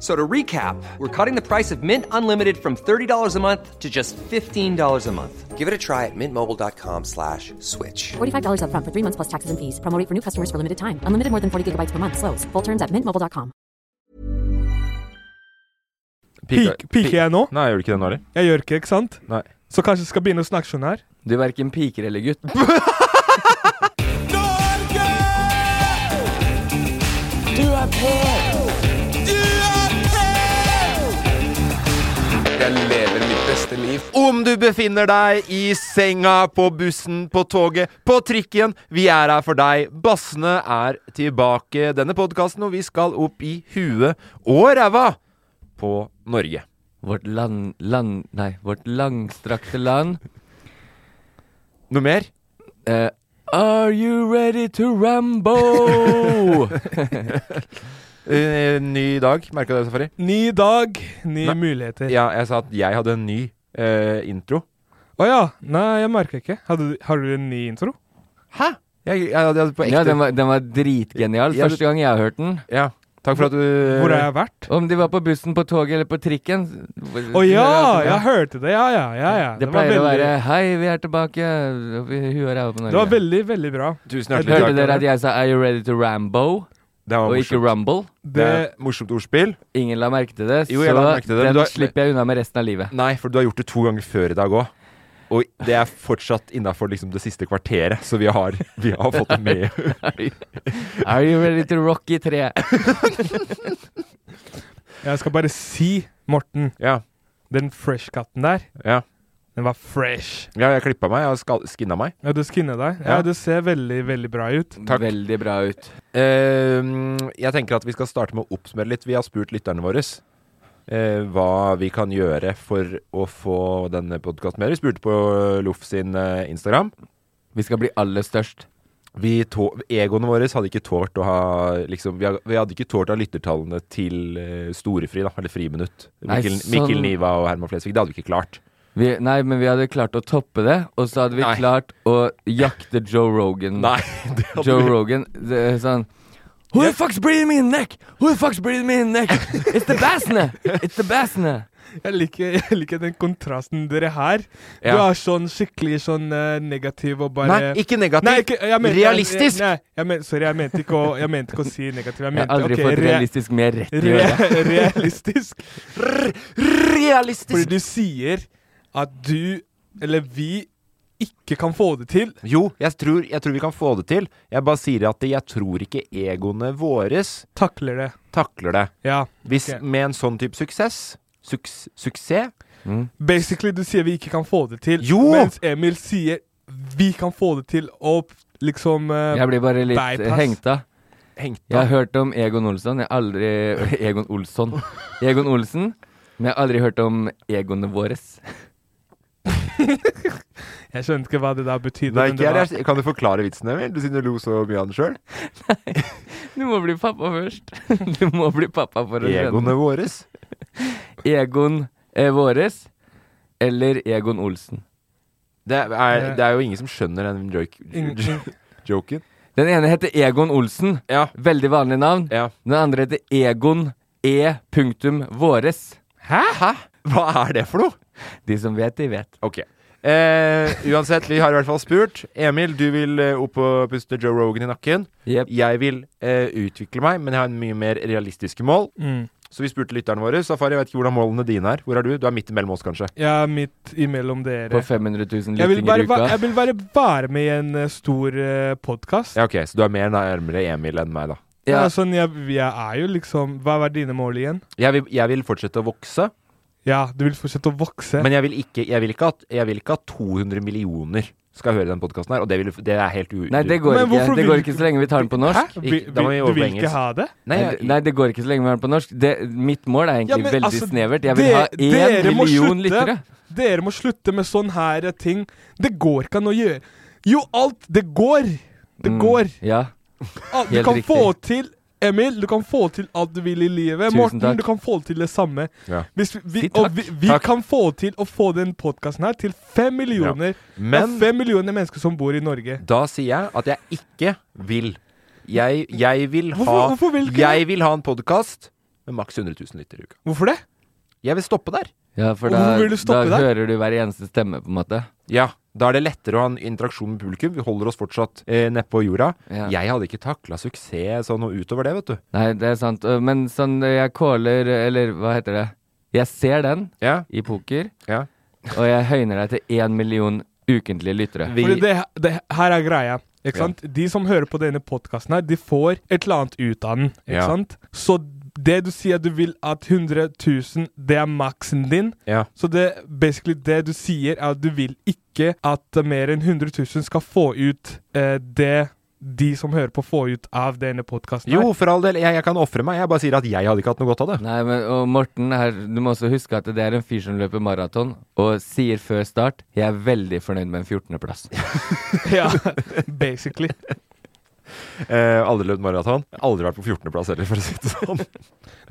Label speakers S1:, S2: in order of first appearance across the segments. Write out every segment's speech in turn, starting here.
S1: So to recap, we're cutting the price of Mint Unlimited from $30 a month to just $15 a month. Give it a try at mintmobile.com slash switch.
S2: $45 upfront for three months plus taxes and fees. Promote for new customers for limited time. Unlimited more than 40 gigabytes per month. Slows. Full terms at mintmobile.com.
S3: Peak- Peaker jeg nå?
S4: Nei, jeg gjorde ikke det nå heller.
S3: Jeg gjør ikke, ikke sant?
S4: Nei.
S3: Så kanskje jeg skal begynne å snakke sånn her?
S5: Du er verken piker eller gutt.
S6: Jeg lever mitt beste liv.
S4: Om du befinner deg i senga, på bussen, på toget, på trikken, vi er her for deg. Bassene er tilbake. Denne podkasten, og vi skal opp i huet og ræva på Norge.
S5: Vårt land... land... Nei, vårt langstrakte land.
S4: Noe mer?
S5: Eh, are you ready to rambo?
S4: Eh, ny dag, merka du det, Safari?
S3: Ny dag, nye
S4: Nei.
S3: muligheter. Å ja.
S4: Ja, jeg sa at jeg hadde en ny eh, intro.
S3: Nei, jeg merka ikke. Hadde, du- har du en ny intro?
S4: Hæ? Jeg, jeg, jeg hadde på ekte.
S5: ja, den var, den var dritgenial.
S4: Ja,
S5: Første gang jeg hørte den.
S4: Ja. Takk for at du
S3: Hvor
S4: Eh,
S3: har jeg vært?
S5: Om de var på bussen, på toget eller på trikken.
S3: Å ja, jeg hørte det. Ja, ja, ja. ja.
S5: eh, Det, pleier å være 'Hei, vi er tilbake'. og vi- Huet er over på Norge.
S3: det var veldig, veldig bra.
S4: Tusen
S3: Jeg
S4: hjertelig
S5: Hørte
S4: takk.
S5: dere at jeg sa 'Are you ready to Rambo?'
S4: Det var
S5: og ikke
S4: morsomt.
S5: Rumble?
S4: Det
S3: Det,
S4: er et morsomt ordspill.
S5: Ingen la merke til det,
S4: Jo,
S5: så
S4: jeg la merke til det, men
S5: den
S4: du har-
S5: slipper jeg unna med resten av livet.
S4: Nei, for du har gjort det to ganger før i dag òg. Og det er fortsatt innafor liksom, det siste kvarteret, så vi har, vi har fått det med.
S5: Are you ready to rock i tre?
S3: jeg skal bare si, Morten,
S4: Ja,
S3: den fresh-katten der,
S4: ja.
S3: den var fresh.
S4: ja jeg klippa meg, jeg har skal- skinna meg.
S3: Ja, du skinnet deg.
S4: Ja.
S3: Ja, det ser veldig, veldig bra ut.
S4: Takk.
S5: Veldig bra ut.
S4: Eh, jeg tenker at vi skal starte med å oppsummere litt. Vi har spurt lytterne våre eh, hva vi kan gjøre for å få denne podkasten mer. Vi spurte på Loff sin eh, Instagram.
S5: Vi skal bli aller størst.
S4: Vi tå- egoene våre hadde ikke tålt å ha liksom, vi, hadde, vi hadde ikke tålt å ha lyttertallene til eh, Storefri, da, eller Friminutt.
S5: Nei,
S4: Mikkel,
S5: sånn-
S4: Mikkel Niva og Herman Flesvig. Det hadde vi ikke klart.
S5: Vi, nei, men vi hadde klart å toppe det, og så hadde vi
S4: Nei.
S5: klart å jakte Joe Rogan.
S4: det hadde
S5: Joe
S4: vi-
S5: Rogan det, er sånn Who the fuck's breathing me in the neck? Who the fuck's breathing me in the neck? It's the bassene! It's the bassene!
S3: Jeg liker, jeg liker den kontrasten dere her. Du
S4: Ja.
S3: er sånn skikkelig sånn eh, negativ og bare
S4: Nei, ikke negativ.
S3: Nei, ikke, jeg mente,
S4: Realistisk!
S3: Nei, jeg men, sorry, jeg mente, ikke å, jeg mente ikke å si negativ. Jeg
S5: Jeg har
S3: mente
S5: aldri
S3: ok,
S5: fått
S3: rea-
S5: realistisk mer rett i øret.
S3: re, realistisk. Fordi
S4: Realistisk!
S3: du sier at du, eller vi, ikke kan få det til.
S4: Jo, jeg tror, jeg tror vi kan få det til. Jeg bare sier at jeg tror ikke egoene våres
S3: Takler det.
S4: takler det.
S3: Ja.
S4: Hvis
S3: Ok.
S4: med en sånn type suksess suks, Suksess?
S3: Basically, du sier vi ikke kan få det til.
S4: Jo!
S3: Mens Emil sier vi kan få det til, og liksom eh,
S5: Jeg blir bare litt eh,
S3: Bypass.
S5: hengt av.
S4: Hengt
S5: Jeg har hørt om Egon Olsson. Jeg har aldri Egon Olsson. Egon Olsen. Men jeg har aldri hørt om egoene våres.
S3: Jeg skjønte ikke hva det der betydde.
S4: Nei,
S3: men
S4: ikke
S3: det var-
S4: jeg. Kan du forklare vitsen, Emil? Du siden du lo så mye av den sjøl.
S5: Du må bli pappa først. Du må bli pappa for å skjønne.
S4: Egoene våres.
S5: Egon eh, våres eller Egon Olsen.
S4: Det er, det er jo ingen som skjønner den joik-
S3: Ingen-
S4: joken.
S5: Den ene heter Egon Olsen.
S4: Ja.
S5: Veldig vanlig navn.
S4: Ja.
S5: Den andre heter Egon E. punktum Våres.
S4: Hæ? Hæ? Hva er det for noe?
S5: De som vet, de vet.
S4: Ok. Eh, uansett, vi har i hvert fall spurt. Emil, du vil eh, opp og puste Joe Rogan i nakken.
S5: Jep.
S4: Jeg vil eh, utvikle meg, men jeg har en mye mer realistiske mål.
S3: Mm.
S4: Så vi spurte lytterne våre. Safari, jeg vet ikke hvordan målene dine er. Hvor er du? Du er midt imellom oss, kanskje.
S3: Jeg er midt imellom dere.
S5: På 500 000
S3: Jeg vil,
S5: lyttinger
S3: bare,
S5: i
S3: va-
S5: uka.
S3: jeg vil bare være med i en eh, stor uh, podkast.
S4: Ja, ok, Så du er mer nærmere Emil enn meg, da.
S5: Ja.
S3: Sånn, jeg, jeg er jo liksom Hva er dine mål igjen?
S4: Jeg vil, jeg vil fortsette å vokse,
S3: Ja, du vil fortsette å vokse.
S4: men jeg vil ikke, jeg vil ikke, at, jeg vil ikke at 200 millioner skal høre den podkasten her. Og det, vil, det er helt u...
S5: Nei, det går
S3: Men
S5: ikke.
S3: hvorfor
S5: Det
S3: vil
S5: går
S3: du-
S5: ikke så lenge vi tar den på norsk.
S3: Hæ?
S4: Ikke-
S3: Vi,
S4: da må vi
S3: vi,
S4: over
S3: du vil
S4: på
S3: ikke
S4: engelsk.
S3: ha det?
S4: Nei,
S5: Nei,
S4: jeg,
S5: det- nei, det går ikke så lenge vi har den på norsk. Det, mitt mål er egentlig
S3: Ja, men
S5: veldig
S3: altså,
S5: snevert. Jeg vil ha
S3: de-
S5: én
S3: dere må
S5: million
S3: slutte.
S5: lyttere.
S3: Dere må slutte med sånn her eh, ting. Det går ikke an å gjøre. Jo, alt Det går! Det
S5: Mm,
S3: går.
S5: Ja.
S3: Al- Ah, Du
S5: helt
S3: kan
S5: riktig.
S3: få til Emil, du kan få til alt du vil i livet.
S5: Tusen
S3: Morten,
S5: takk.
S3: du kan få til det samme.
S4: Ja.
S3: Hvis vi, vi,
S5: Si
S3: og
S5: takk.
S3: vi, vi
S4: Takk.
S3: kan få til å få den podkasten her til fem millioner.
S4: Men-
S3: av fem millioner mennesker som bor i Norge.
S4: Da sier jeg at jeg ikke vil. Jeg, jeg vil ha
S3: Hvorfor- hvorfor vil ikke
S4: Jeg vil ha en podkast med maks 100 000 lyttere i uka.
S3: Hvorfor det?
S4: Jeg vil stoppe der.
S5: ja, for
S3: Og
S5: da,
S3: hvor vil du
S5: da
S3: stoppe der?
S5: hører du hver eneste stemme, på en måte.
S4: Ja, Da er det lettere å ha en interaksjon med publikum. Vi holder oss fortsatt eh, nedpå jorda.
S5: Ja.
S4: Jeg hadde ikke takla suksess sånn og utover det, vet du.
S5: Nei, det er sant. Øh, Men sånn øh, jeg caller øh, Eller hva heter det? Jeg ser den
S4: Ja,
S5: i poker,
S4: ja.
S5: og jeg høyner deg til én million ukentlige lyttere.
S4: Vi,
S3: Fordi det, det her er greia. Ikke
S4: Ja.
S3: sant? De som hører på denne podkasten her, de får et eller annet ut av den. Ikke
S4: Ja.
S3: sant? Så det du sier du vil at 100 000, det er maksen din.
S4: ja.
S3: Så det, basically det du sier, er at du vil ikke at mer enn 100 000 skal få ut eh, det de som hører på, får ut av denne podkasten.
S4: Jo, for all del. Jeg, jeg kan ofre meg. Jeg bare sier at jeg hadde ikke hatt noe godt av det.
S5: Nei, men og Morten, her, du må også huske at det er en fyr som løper maraton og sier før start 'Jeg er veldig fornøyd med en 14.-plass'.
S3: Ja, basically.
S4: Eh, aldri løpt maraton. Aldri vært på 14.-plass heller, for å si det sånn.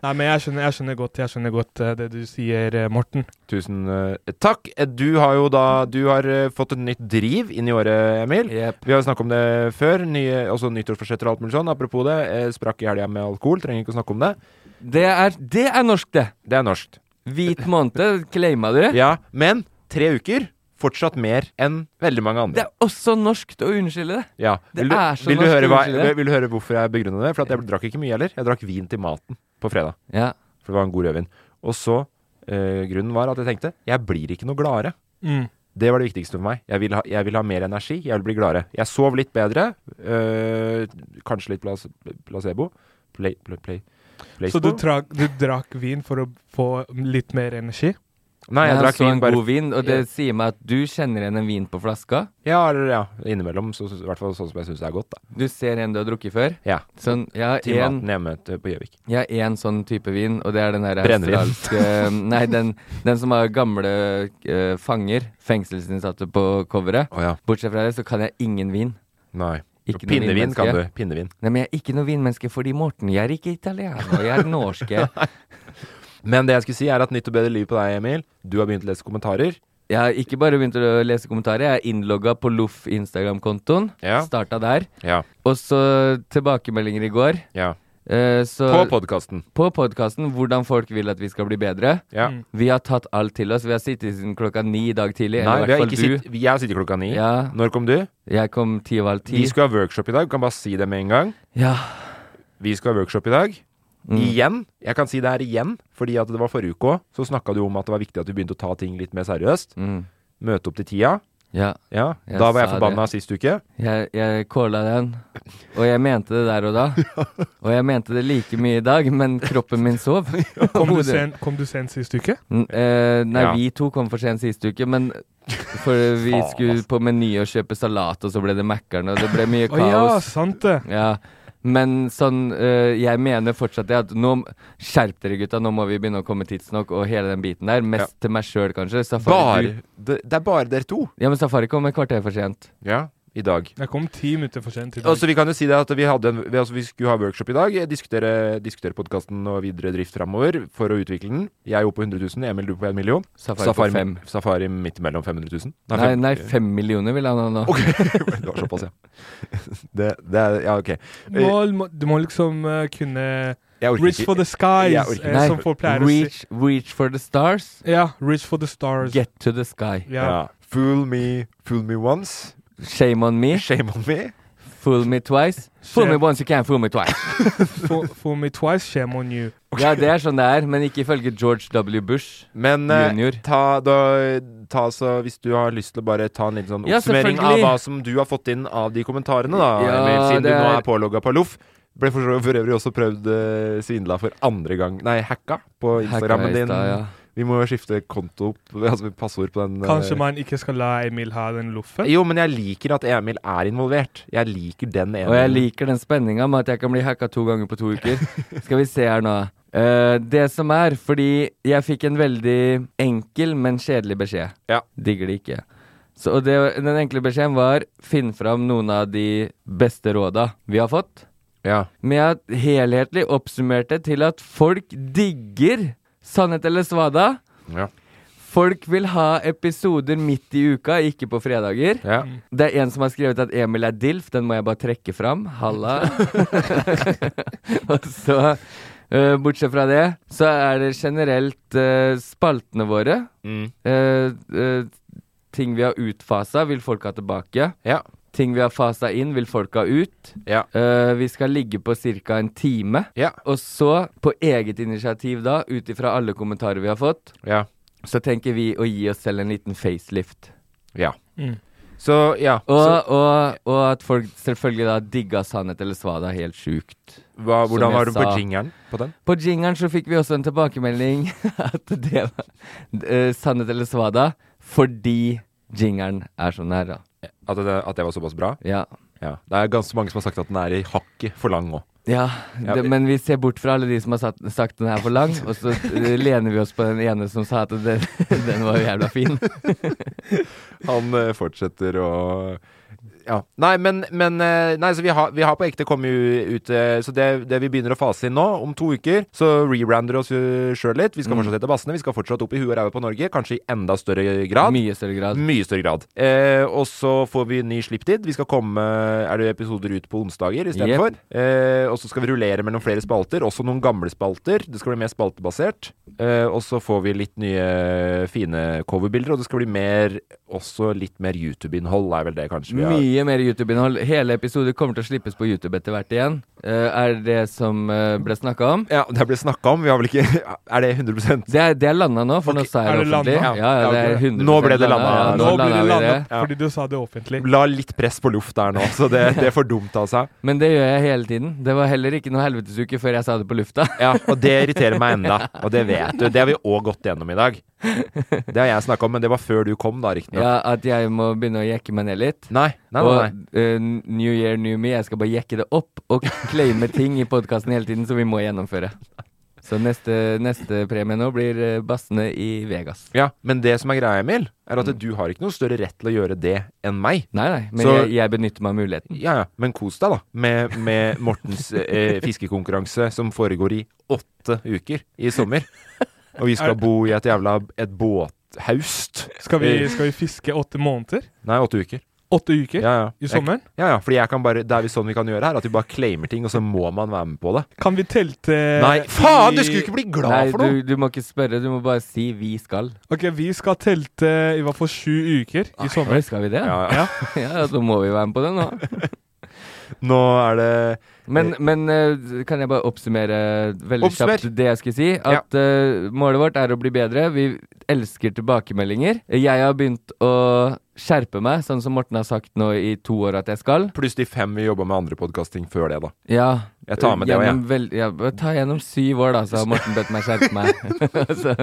S3: Nei, men jeg skjønner, jeg skjønner godt, jeg skjønner godt eh, det du sier, eh, Morten.
S4: Tusen eh, takk. Eh, Du har jo da Du har eh, fått et nytt driv inn i året, Emil.
S5: Jepp.
S4: Vi har jo snakket om det før. Nye, også nyttårsforsetter og alt mulig sånn. Apropos det, eh, sprakk i helga med alkohol. Trenger ikke å snakke om det.
S5: Det er, det er norsk, det!
S4: Det er norskt.
S5: Hvit måned, claima du?
S4: Ja, men tre uker. Fortsatt mer enn veldig mange
S5: Det
S4: andre.
S5: er også norskt å unnskylde det.
S4: ja.
S5: det
S4: vil, du,
S5: er så
S4: vil, du
S5: norsk,
S4: høre hva,
S5: unnskyld det.
S4: vil du høre hvorfor jeg begrunner det? For at jeg drakk ikke mye heller. Jeg drakk vin til maten på fredag.
S5: Ja.
S4: For det var en god rødvin. Og så eh, Grunnen var at jeg tenkte jeg blir ikke noe gladere.
S3: Mm.
S4: Det var det viktigste for meg. Jeg vil ha, jeg vil ha mer energi, jeg vil bli gladere. Jeg sov litt bedre, øh, kanskje litt place, placebo. Play, play, play,
S3: Så du,
S4: placebo?
S3: trak, du drakk vin for å få litt mer energi?
S4: Nei, jeg
S5: Men
S4: drakk
S5: så
S4: vin
S5: en
S4: bare
S5: god vin, og det sier meg at du kjenner igjen en vin på flaska.
S4: Ja, eller ja, innimellom. Så, så, I hvert fall sånn som jeg syns det er godt, da.
S5: Du ser en du har drukket før.
S4: Ja.
S5: Sånn, jeg har
S4: Til
S5: en-
S4: maten hjemme til- på Gjøvik.
S5: jeg har én sånn type vin, og det er den der
S4: Brennevin.
S5: australske Nei, den, den som har gamle eh, fanger, fengselsinnsatte, på coveret.
S4: Å ja.
S5: Bortsett fra det så kan jeg ingen vin.
S4: Nei.
S5: Ikke noe
S4: Pinnevin
S5: vinmenneske.
S4: kan du. Pinnevin.
S5: Nei, men jeg er ikke noe vinmenneske fordi Morten, jeg er ikke italiener, jeg er norske.
S4: Men det jeg skulle si, er at nytt og bedre liv på deg, Emil. Du har begynt å lese kommentarer.
S5: Jeg har ikke bare begynt å lese kommentarer, jeg er innlogga på Loff Instagram-kontoen.
S4: Ja.
S5: Starta der.
S4: Ja.
S5: Og så tilbakemeldinger i går.
S4: ja.
S5: Eh, så
S4: På podkasten.
S5: på podkasten hvordan folk vil at vi skal bli bedre.
S4: Ja.
S3: Mm.
S5: Vi har tatt alt til oss. Vi har sittet siden klokka ni i dag tidlig.
S4: Nei,
S5: eller i
S4: vi har
S5: hvert
S4: ikke
S5: fall du.
S4: sitt, jeg har sittet klokka ni.
S5: Ja.
S4: Når kom du?
S5: Jeg kom ti over halv
S4: Vi
S5: ti.
S4: skulle ha workshop i dag. Kan bare si det med en gang.
S5: Ja.
S4: Vi skal ha workshop i dag.
S5: Mm.
S4: Igjen. Jeg kan si det her igjen, fordi at det var forrige uke òg. Så snakka du om at det var viktig at vi begynte å ta ting litt mer seriøst.
S5: Mm.
S4: Møte opp til tida.
S5: ja.
S4: Ja.
S5: Jeg
S4: da var jeg
S5: sa
S4: forbanna sist uke.
S5: Jeg, jeg calla den, og jeg mente det der og da. Og jeg mente det like mye i dag, men kroppen min sov.
S3: Kom du
S5: Hodet-
S3: sent, kom du sent sist uke?
S5: N- eh, nei,
S4: Ja.
S5: vi to kom for sent sist uke, men for vi
S4: Faen,
S5: skulle på Meny og kjøpe salat, og så ble det Mækkern, og det ble mye
S3: Å ja,
S5: kaos.
S3: sant det.
S5: Ja, men sånn eh, Jeg mener fortsatt det at nå Skjerp dere, gutta. Nå må vi begynne å komme tidsnok og hele den biten der. Mest til meg sjøl, kanskje. Safari,
S4: Bare
S5: du-
S4: det, det er bare dere to.
S5: Ja, men Safari kom et kvarter for sent.
S4: Ja. i dag.
S3: Jeg kom ti minutter for sent i dag.
S4: Altså, vi kan jo si det at vi, hadde en, vi, altså, vi skulle ha workshop i dag. eh, Diskutere, diskutere podkasten og videre drift framover for å utvikle den. Jeg er jo på 100 000, Emil du på 1 million.
S5: Safari på fem.
S4: Safari midt mellom 500 000.
S5: Nei, nei, fem millioner vil han ha nå.
S4: Ok, det var såpass, ja. Det, det er, ja, ok.
S3: Mål, må, du må liksom eh, kunne
S4: Jeg orker
S3: Reach
S4: ikke-
S3: for the
S4: Jeg
S3: skies,
S4: orker
S3: eh,
S4: ikke.
S5: Nei,
S3: som folk pleier å si.
S5: reach, reach for the stars,
S3: Ja, reach for the stars.
S5: get to the sky.
S3: Ja.
S4: Ja. Fool me, fool me once.
S5: Shame on me,
S4: Shame on me.
S5: fool me twice. Fool me
S3: Shame.
S5: once, you can't fool me twice.
S3: For, for me twice, shame on you.
S5: Ja, det er sånn det er, men ikke ifølge George W. Bush.
S4: Men eh,
S5: Junior.
S4: ta, da, ta så, hvis du har lyst til å bare ta en liten sånn
S5: Ja,
S4: oppsummering av
S5: selvfølgelig.
S4: hva som du har fått inn av de kommentarene, da,
S5: Ja,
S4: Emil, siden
S5: det
S4: du nå
S5: er-
S4: er pålogga på Loff. Ble for, så- for øvrig også prøvd eh, svindla for andre gang Nei, hacka på Instagrammen
S5: Hacka i
S4: din.
S5: stad, ja.
S4: Vi må jo skifte konto, altså passord på den. eh,
S3: Kanskje man ikke skal la Emil ha den loffen?
S4: Jo, men jeg liker at Emil er involvert. Jeg liker den Emil.
S5: Og jeg liker den spenninga med at jeg kan bli hacka to ganger på to uker. Skal vi se her nå. Eh, det som er, fordi jeg fikk en veldig enkel, men kjedelig beskjed.
S4: Ja.
S5: Digger det ikke. Så, og det, den enkle beskjeden var finn fram noen av de beste råda vi har fått.
S4: Ja.
S5: Men jeg har helhetlig oppsummert det til at folk digger Sannhet eller svada.
S4: Ja.
S5: Folk vil ha episoder midt i uka, ikke på fredager.
S4: ja.
S5: Det er en som har skrevet at Emil er DILF, den må jeg bare trekke fram. Halla. og så, eh, bortsett fra det, så er det generelt eh, spaltene våre.
S4: Mm.
S5: eh, eh, ting vi har utfasa, vil folk ha tilbake.
S4: Ja.
S5: Ting vi har fasa inn, vil folk ha ut.
S4: Ja.
S5: Eh, vi skal ligge på ca. en time.
S4: Ja.
S5: Og så, på eget initiativ da, ut ifra alle kommentarer vi har fått,
S4: Ja.
S5: så tenker vi å gi oss selv en liten facelift.
S4: ja.
S3: Mm.
S4: Så ja. så,
S5: Og, og, og at folk selvfølgelig da digga sannhet eller svada helt sjukt.
S4: hva,
S5: som
S4: hvordan
S5: jeg
S4: var du på
S5: sa-
S4: jingeren på den?
S5: På jingeren så fikk vi også en tilbakemelding at det var eh, sannhet eller svada fordi jingeren er sånn her, da.
S4: At det, at det var såpass bra?
S5: Ja.
S4: Ja. Det er ganske mange som har sagt at den er i hakket for lang òg.
S5: Ja,
S4: Ja,
S5: det,
S4: vi-
S5: men vi ser bort fra alle de som har sagt, sagt den er for lang, og så eh, lener vi oss på den ene som sa at den, den var jævla fin.
S4: Han eh, fortsetter å ja. Nei, men, men eh, Nei, så vi har, vi har på ekte kommet u- ut eh, Så det, det vi begynner å fase inn nå, om to uker, så rebrander oss sjøl litt. Vi skal fortsatt hete Bassene. Vi skal fortsatt opp i huet og ræva på Norge, kanskje i enda større grad.
S5: Mye større grad.
S4: Mye større grad. Eh, og så får vi ny slipptid. Vi skal komme Er det episoder ut på onsdager istedenfor? Eh, og så skal vi rullere mellom flere spalter, også noen gamle spalter. Det skal bli mer spaltebasert. Eh, og så får vi litt nye fine coverbilder, og det skal bli mer også litt mer YouTube-innhold, er vel det kanskje vi har.
S5: Mye mer YouTube-innhold. Hele episoder kommer til å slippes på YouTube etter hvert igjen. Eh, er det som eh, ble snakka om?
S4: Ja, det ble snakka om. Vi har vel ikke Er det 100
S5: Det er, det er landa nå, for nå sa jeg
S3: er det
S5: det offentlig.
S3: landet?
S5: Ja, ja, det er
S4: Ja, ok.
S5: 100
S4: Nå ble det landet. Ja,
S5: landet,
S3: Nå
S5: nå
S3: blir det
S5: landa vi
S3: landet
S5: det.
S4: Ja.
S3: fordi du sa det offentlig.
S4: La litt press på luft der nå, så det, det får dumt av seg.
S5: Men det gjør jeg hele tiden. Det var heller ikke noe helvetesuke før jeg sa det på lufta.
S4: Ja, og det irriterer meg enda. Og det vet du. Det har vi òg gått gjennom i dag. Det har jeg snakka om, men det var før du kom, da, riktignok.
S5: Ja, At jeg må begynne å jekke meg ned litt.
S4: Nei, nei, nei, nei.
S5: Og eh, New Year, New Me, jeg skal bare jekke det opp og claime ting i podkasten hele tiden som vi må gjennomføre. Så neste, neste premie nå blir eh, Bassene i Vegas.
S4: Ja, men det som er greia, Emil, er
S5: Mm.
S4: at du har ikke noe større rett til å gjøre det enn meg.
S5: Nei, nei, men
S4: Så-
S5: jeg, jeg benytter meg av muligheten.
S4: Ja, ja, men kos deg, da, med, med Mortens eh, fiskekonkurranse som foregår i åtte uker i sommer. Og vi skal bo i et jævla et båthaust.
S3: Skal vi,
S4: Eh,
S3: skal vi fiske åtte måneder?
S4: Nei, åtte uker.
S3: Åtte uker?
S4: Ja, ja.
S3: I sommeren?
S4: Jeg, ja, ja, fordi jeg kan bare Det er vel sånn vi kan gjøre her, at vi bare claimer ting, og så må man være med på det.
S3: Kan vi telte
S4: Nei, Eh, faen! Du
S3: i-
S4: skulle ikke bli glad
S5: Nei,
S4: for noe!
S5: du, du må ikke spørre, du må bare si 'vi skal'.
S3: Ok, vi skal telte i hvert fall sju uker
S4: Ah,
S3: i sommer.
S5: Oi, skal vi det?
S4: Ja, ja.
S3: Ja.
S5: Ja, da må vi være med på det nå.
S4: Nå er det
S5: Men, men eh, kan jeg bare oppsummere eh, veldig
S4: Oppsummer.
S5: kjapt det jeg skulle si? At eh, målet vårt er å bli bedre. Vi elsker tilbakemeldinger. Jeg har begynt å skjerpe meg, sånn som Morten har sagt nå i to år at jeg skal.
S4: pluss de fem vi jobba med andre podkasting før det, da.
S5: Ja.
S4: Jeg tar med det også, jeg.
S5: gjennom vel- ja, bare Ta gjennom syv år, da, så har Morten bedt meg skjerpe meg. så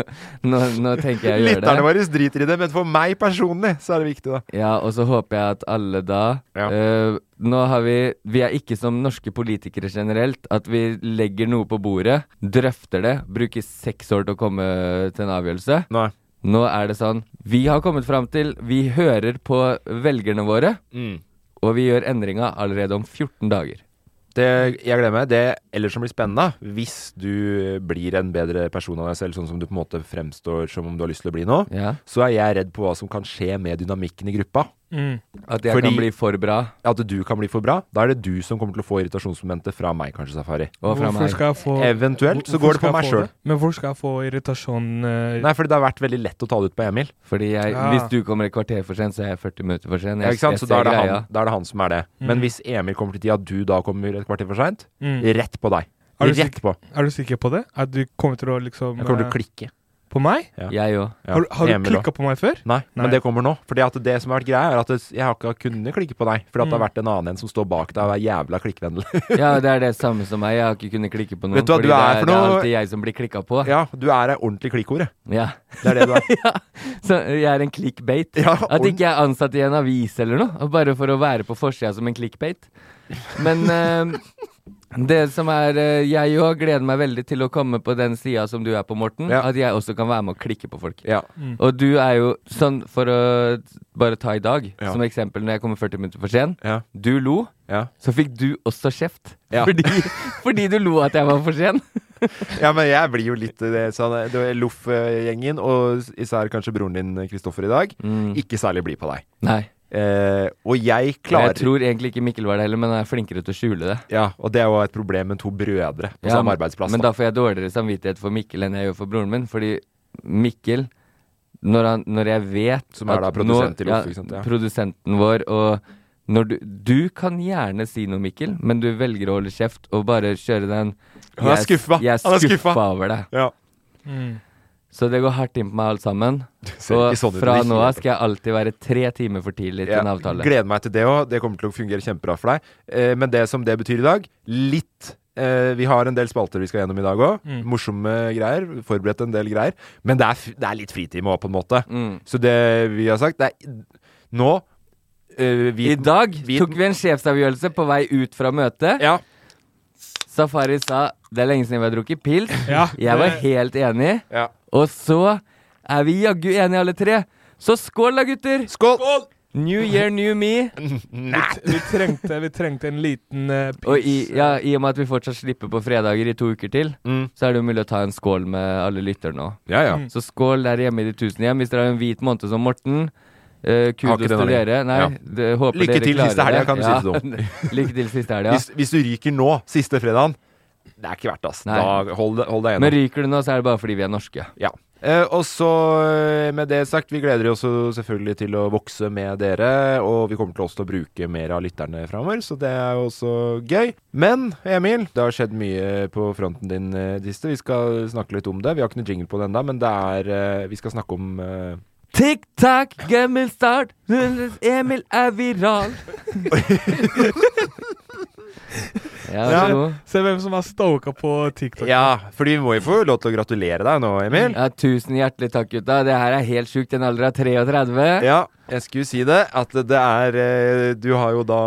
S5: nå, nå tenker jeg å gjøre det.
S4: Lytterne våre driter i det, men for meg personlig så er det viktig, da.
S5: Ja, og så håper jeg at alle da
S4: Ja.
S5: eh, Nå har vi Vi er ikke som norske politikere generelt, at vi legger noe på bordet, drøfter det, bruker seks år til å komme til en avgjørelse.
S4: Nei. Mm.
S5: Nå er det sånn Vi har kommet fram til Vi hører på velgerne våre. Og vi gjør endringa allerede om 14 dager.
S4: Det, jeg glemmer det ellers som blir spennende, hvis du blir en bedre person av deg selv, sånn som du på en måte fremstår som om du har lyst til å bli nå,
S5: Ja.
S4: så er jeg redd på hva som kan skje med dynamikken i gruppa.
S3: Mm.
S5: At jeg
S4: Fordi-
S5: kan bli for bra.
S4: At du kan bli for bra. Da er det du som kommer til å få irritasjonsmomentet fra meg, kanskje, Safari.
S5: Og fra
S3: Hvorfor
S5: meg.
S3: skal jeg få
S4: Eventuelt så
S3: hvorfor
S4: går det på
S3: skal jeg
S4: meg
S3: få
S4: sjøl.
S3: Men hvor skal jeg få irritasjon eh,
S4: Nei, fordi det har vært veldig lett å ta det ut på Emil.
S5: Fordi jeg,
S3: Ja.
S5: hvis du kommer et kvarter for sent, så er jeg 40 minutter for sent.
S4: Ja,
S5: Jeg,
S4: ikke sant?
S5: jeg
S4: Så da
S5: ser
S4: er, det
S5: greia.
S4: han, da er det han som er det. Men hvis Emil kommer til tida, du da kommer et kvarter for seint,
S3: Mm.
S4: rett på deg.
S3: Er du
S4: Rett på.
S3: Er du sikker på det? At du kommer til å liksom
S4: Jeg kommer til
S3: eh,
S4: å klikke.
S3: På meg?
S4: Ja.
S5: Jeg òg.
S4: Ja,
S3: Har, du- har du
S4: Emil også.
S3: klikka på meg før?
S4: Nei,
S3: Nei.
S4: men det kommer nå. Fordi at det som har vært greia, er at det- jeg har ikke kunnet klikke på deg. Fordi at det har vært en annen en som står bak deg og er jævla klikkvennlig.
S5: Ja, det er det samme som meg. Jeg har ikke kunnet klikke på noen.
S4: Vet du hva
S5: fordi
S4: du er
S5: det,
S4: for
S5: det er
S4: noe?
S5: alltid jeg som blir klikka på.
S4: ja, du er ei ordentlig klikkhore.
S5: Ja.
S4: Det er det du er.
S5: Så jeg er en clickbait.
S4: Ja,
S5: At ikke jeg er ansatt i en avis eller noe, bare for å være på forsida som en clickbait. Men eh, det som er eh, Jeg òg gleder meg veldig til å komme på den sida som du er på, Morten.
S4: Ja.
S5: At jeg også kan være med å klikke på folk.
S4: Ja.
S5: Og du er jo sånn, for å bare ta i dag
S4: Ja.
S5: som eksempel, når jeg kommer 40 minutter for sent.
S4: Ja.
S5: Du lo,
S4: Ja.
S5: så fikk du også kjeft.
S4: Ja.
S5: Fordi, fordi du lo at jeg var for sen.
S4: ja, men jeg blir jo litt eh, sånn eh, du er Loff-gjengen, og især kanskje broren din eh, Kristoffer i dag, ikke særlig blid på deg.
S5: Nei.
S4: Eh, og Mm. jeg
S5: Jeg
S4: klarer
S5: tror egentlig ikke Mikkel var det heller, men han er flinkere til å skjule det.
S4: Ja, og det er jo et problem med to brødre på
S5: Ja,
S4: samme arbeidsplass.
S5: Men
S4: da.
S5: da får jeg dårligere samvittighet for Mikkel enn jeg gjør for broren min. Fordi Mikkel, når, han, når jeg vet
S4: Som er da
S5: at
S4: produsent
S5: nå-
S4: i Loff, ikke sant? Ja.
S5: Produsenten vår og når du, du kan gjerne si noe, Mikkel, men du velger å holde kjeft og bare kjøre den
S4: Han er
S5: jeg-
S4: skuffa.
S5: Jeg
S4: Han er
S5: er
S4: skuffa.
S5: skuffa over deg.
S4: Ja.
S5: Så det går hardt inn på meg alt sammen.
S4: ser
S5: og
S4: ikke sånn ut,
S5: fra
S4: det er
S5: nå
S4: helt-
S5: av skal jeg alltid være tre timer for tidlig til
S4: Ja,
S5: en avtale.
S4: Gleder meg til det òg. Det kommer til å fungere kjempebra for deg. Eh, men det som det betyr i dag, litt eh, Vi har en del spalter vi skal gjennom i dag òg. Morsomme greier. Forberedt en del greier. Men det er, f- det er litt fritime òg, på en måte.
S5: Mm.
S4: Så det vi har sagt, det er Nå eh, vi,
S5: I dag
S4: vi-
S5: tok vi en sjefsavgjørelse på vei ut fra møtet.
S4: Ja.
S5: Safari sa det er lenge siden vi har drukket pils.
S3: Ja,
S5: jeg var
S3: det-
S5: helt enig.
S4: ja.
S5: Og så er vi jaggu enige alle tre. Så skål da, gutter!
S4: Skål!
S5: New year, new me.
S3: Vi trengte, vi trengte en liten eh, pils.
S5: Og i, ja, i og med at vi fortsatt slipper på fredager i to uker til,
S4: Mm.
S5: så er det jo mulig å ta en skål med alle lytterne òg.
S4: Ja, ja.
S5: Så skål der hjemme i de tusen hjem. Hvis dere har en hvit måned som Morten, eh,
S4: Har
S5: kudos
S4: ikke den
S5: til
S4: lenger.
S5: dere. Nei,
S4: Ja.
S5: det, håper
S4: Lykke
S5: dere
S4: til
S5: klarer
S4: siste helga, kan du si det
S5: Lykke til siste helga.
S4: Hvis, hvis du ryker nå, siste fredagen, det er ikke verdt ass.
S5: Nei.
S4: Da hold, hold deg
S5: Men
S4: gjennom.
S5: ryker det nå, så er det bare fordi vi er norske.
S4: Ja. Eh, og så, eh, med det sagt, vi gleder oss jo selvfølgelig til å vokse med dere. Og vi kommer til også til å bruke mer av lytterne framover, så det er jo også gøy. Men Emil, det har skjedd mye på fronten din eh, siste. Vi skal snakke litt om det. Vi har ikke noe jingle på det ennå, men det er eh, Vi skal snakke om eh,
S5: Tikk takk, gammel start, Emil er viral. ja, vær så god.
S3: Se hvem som har stoka på TikTok.
S4: Ja, fordi vi må jo få lov til å gratulere deg nå, Emil.
S5: Ja, tusen hjertelig takk, gutta. Det her er helt sjukt i en alder av 33.
S4: Ja, jeg skulle si det. At det er eh, Du har jo da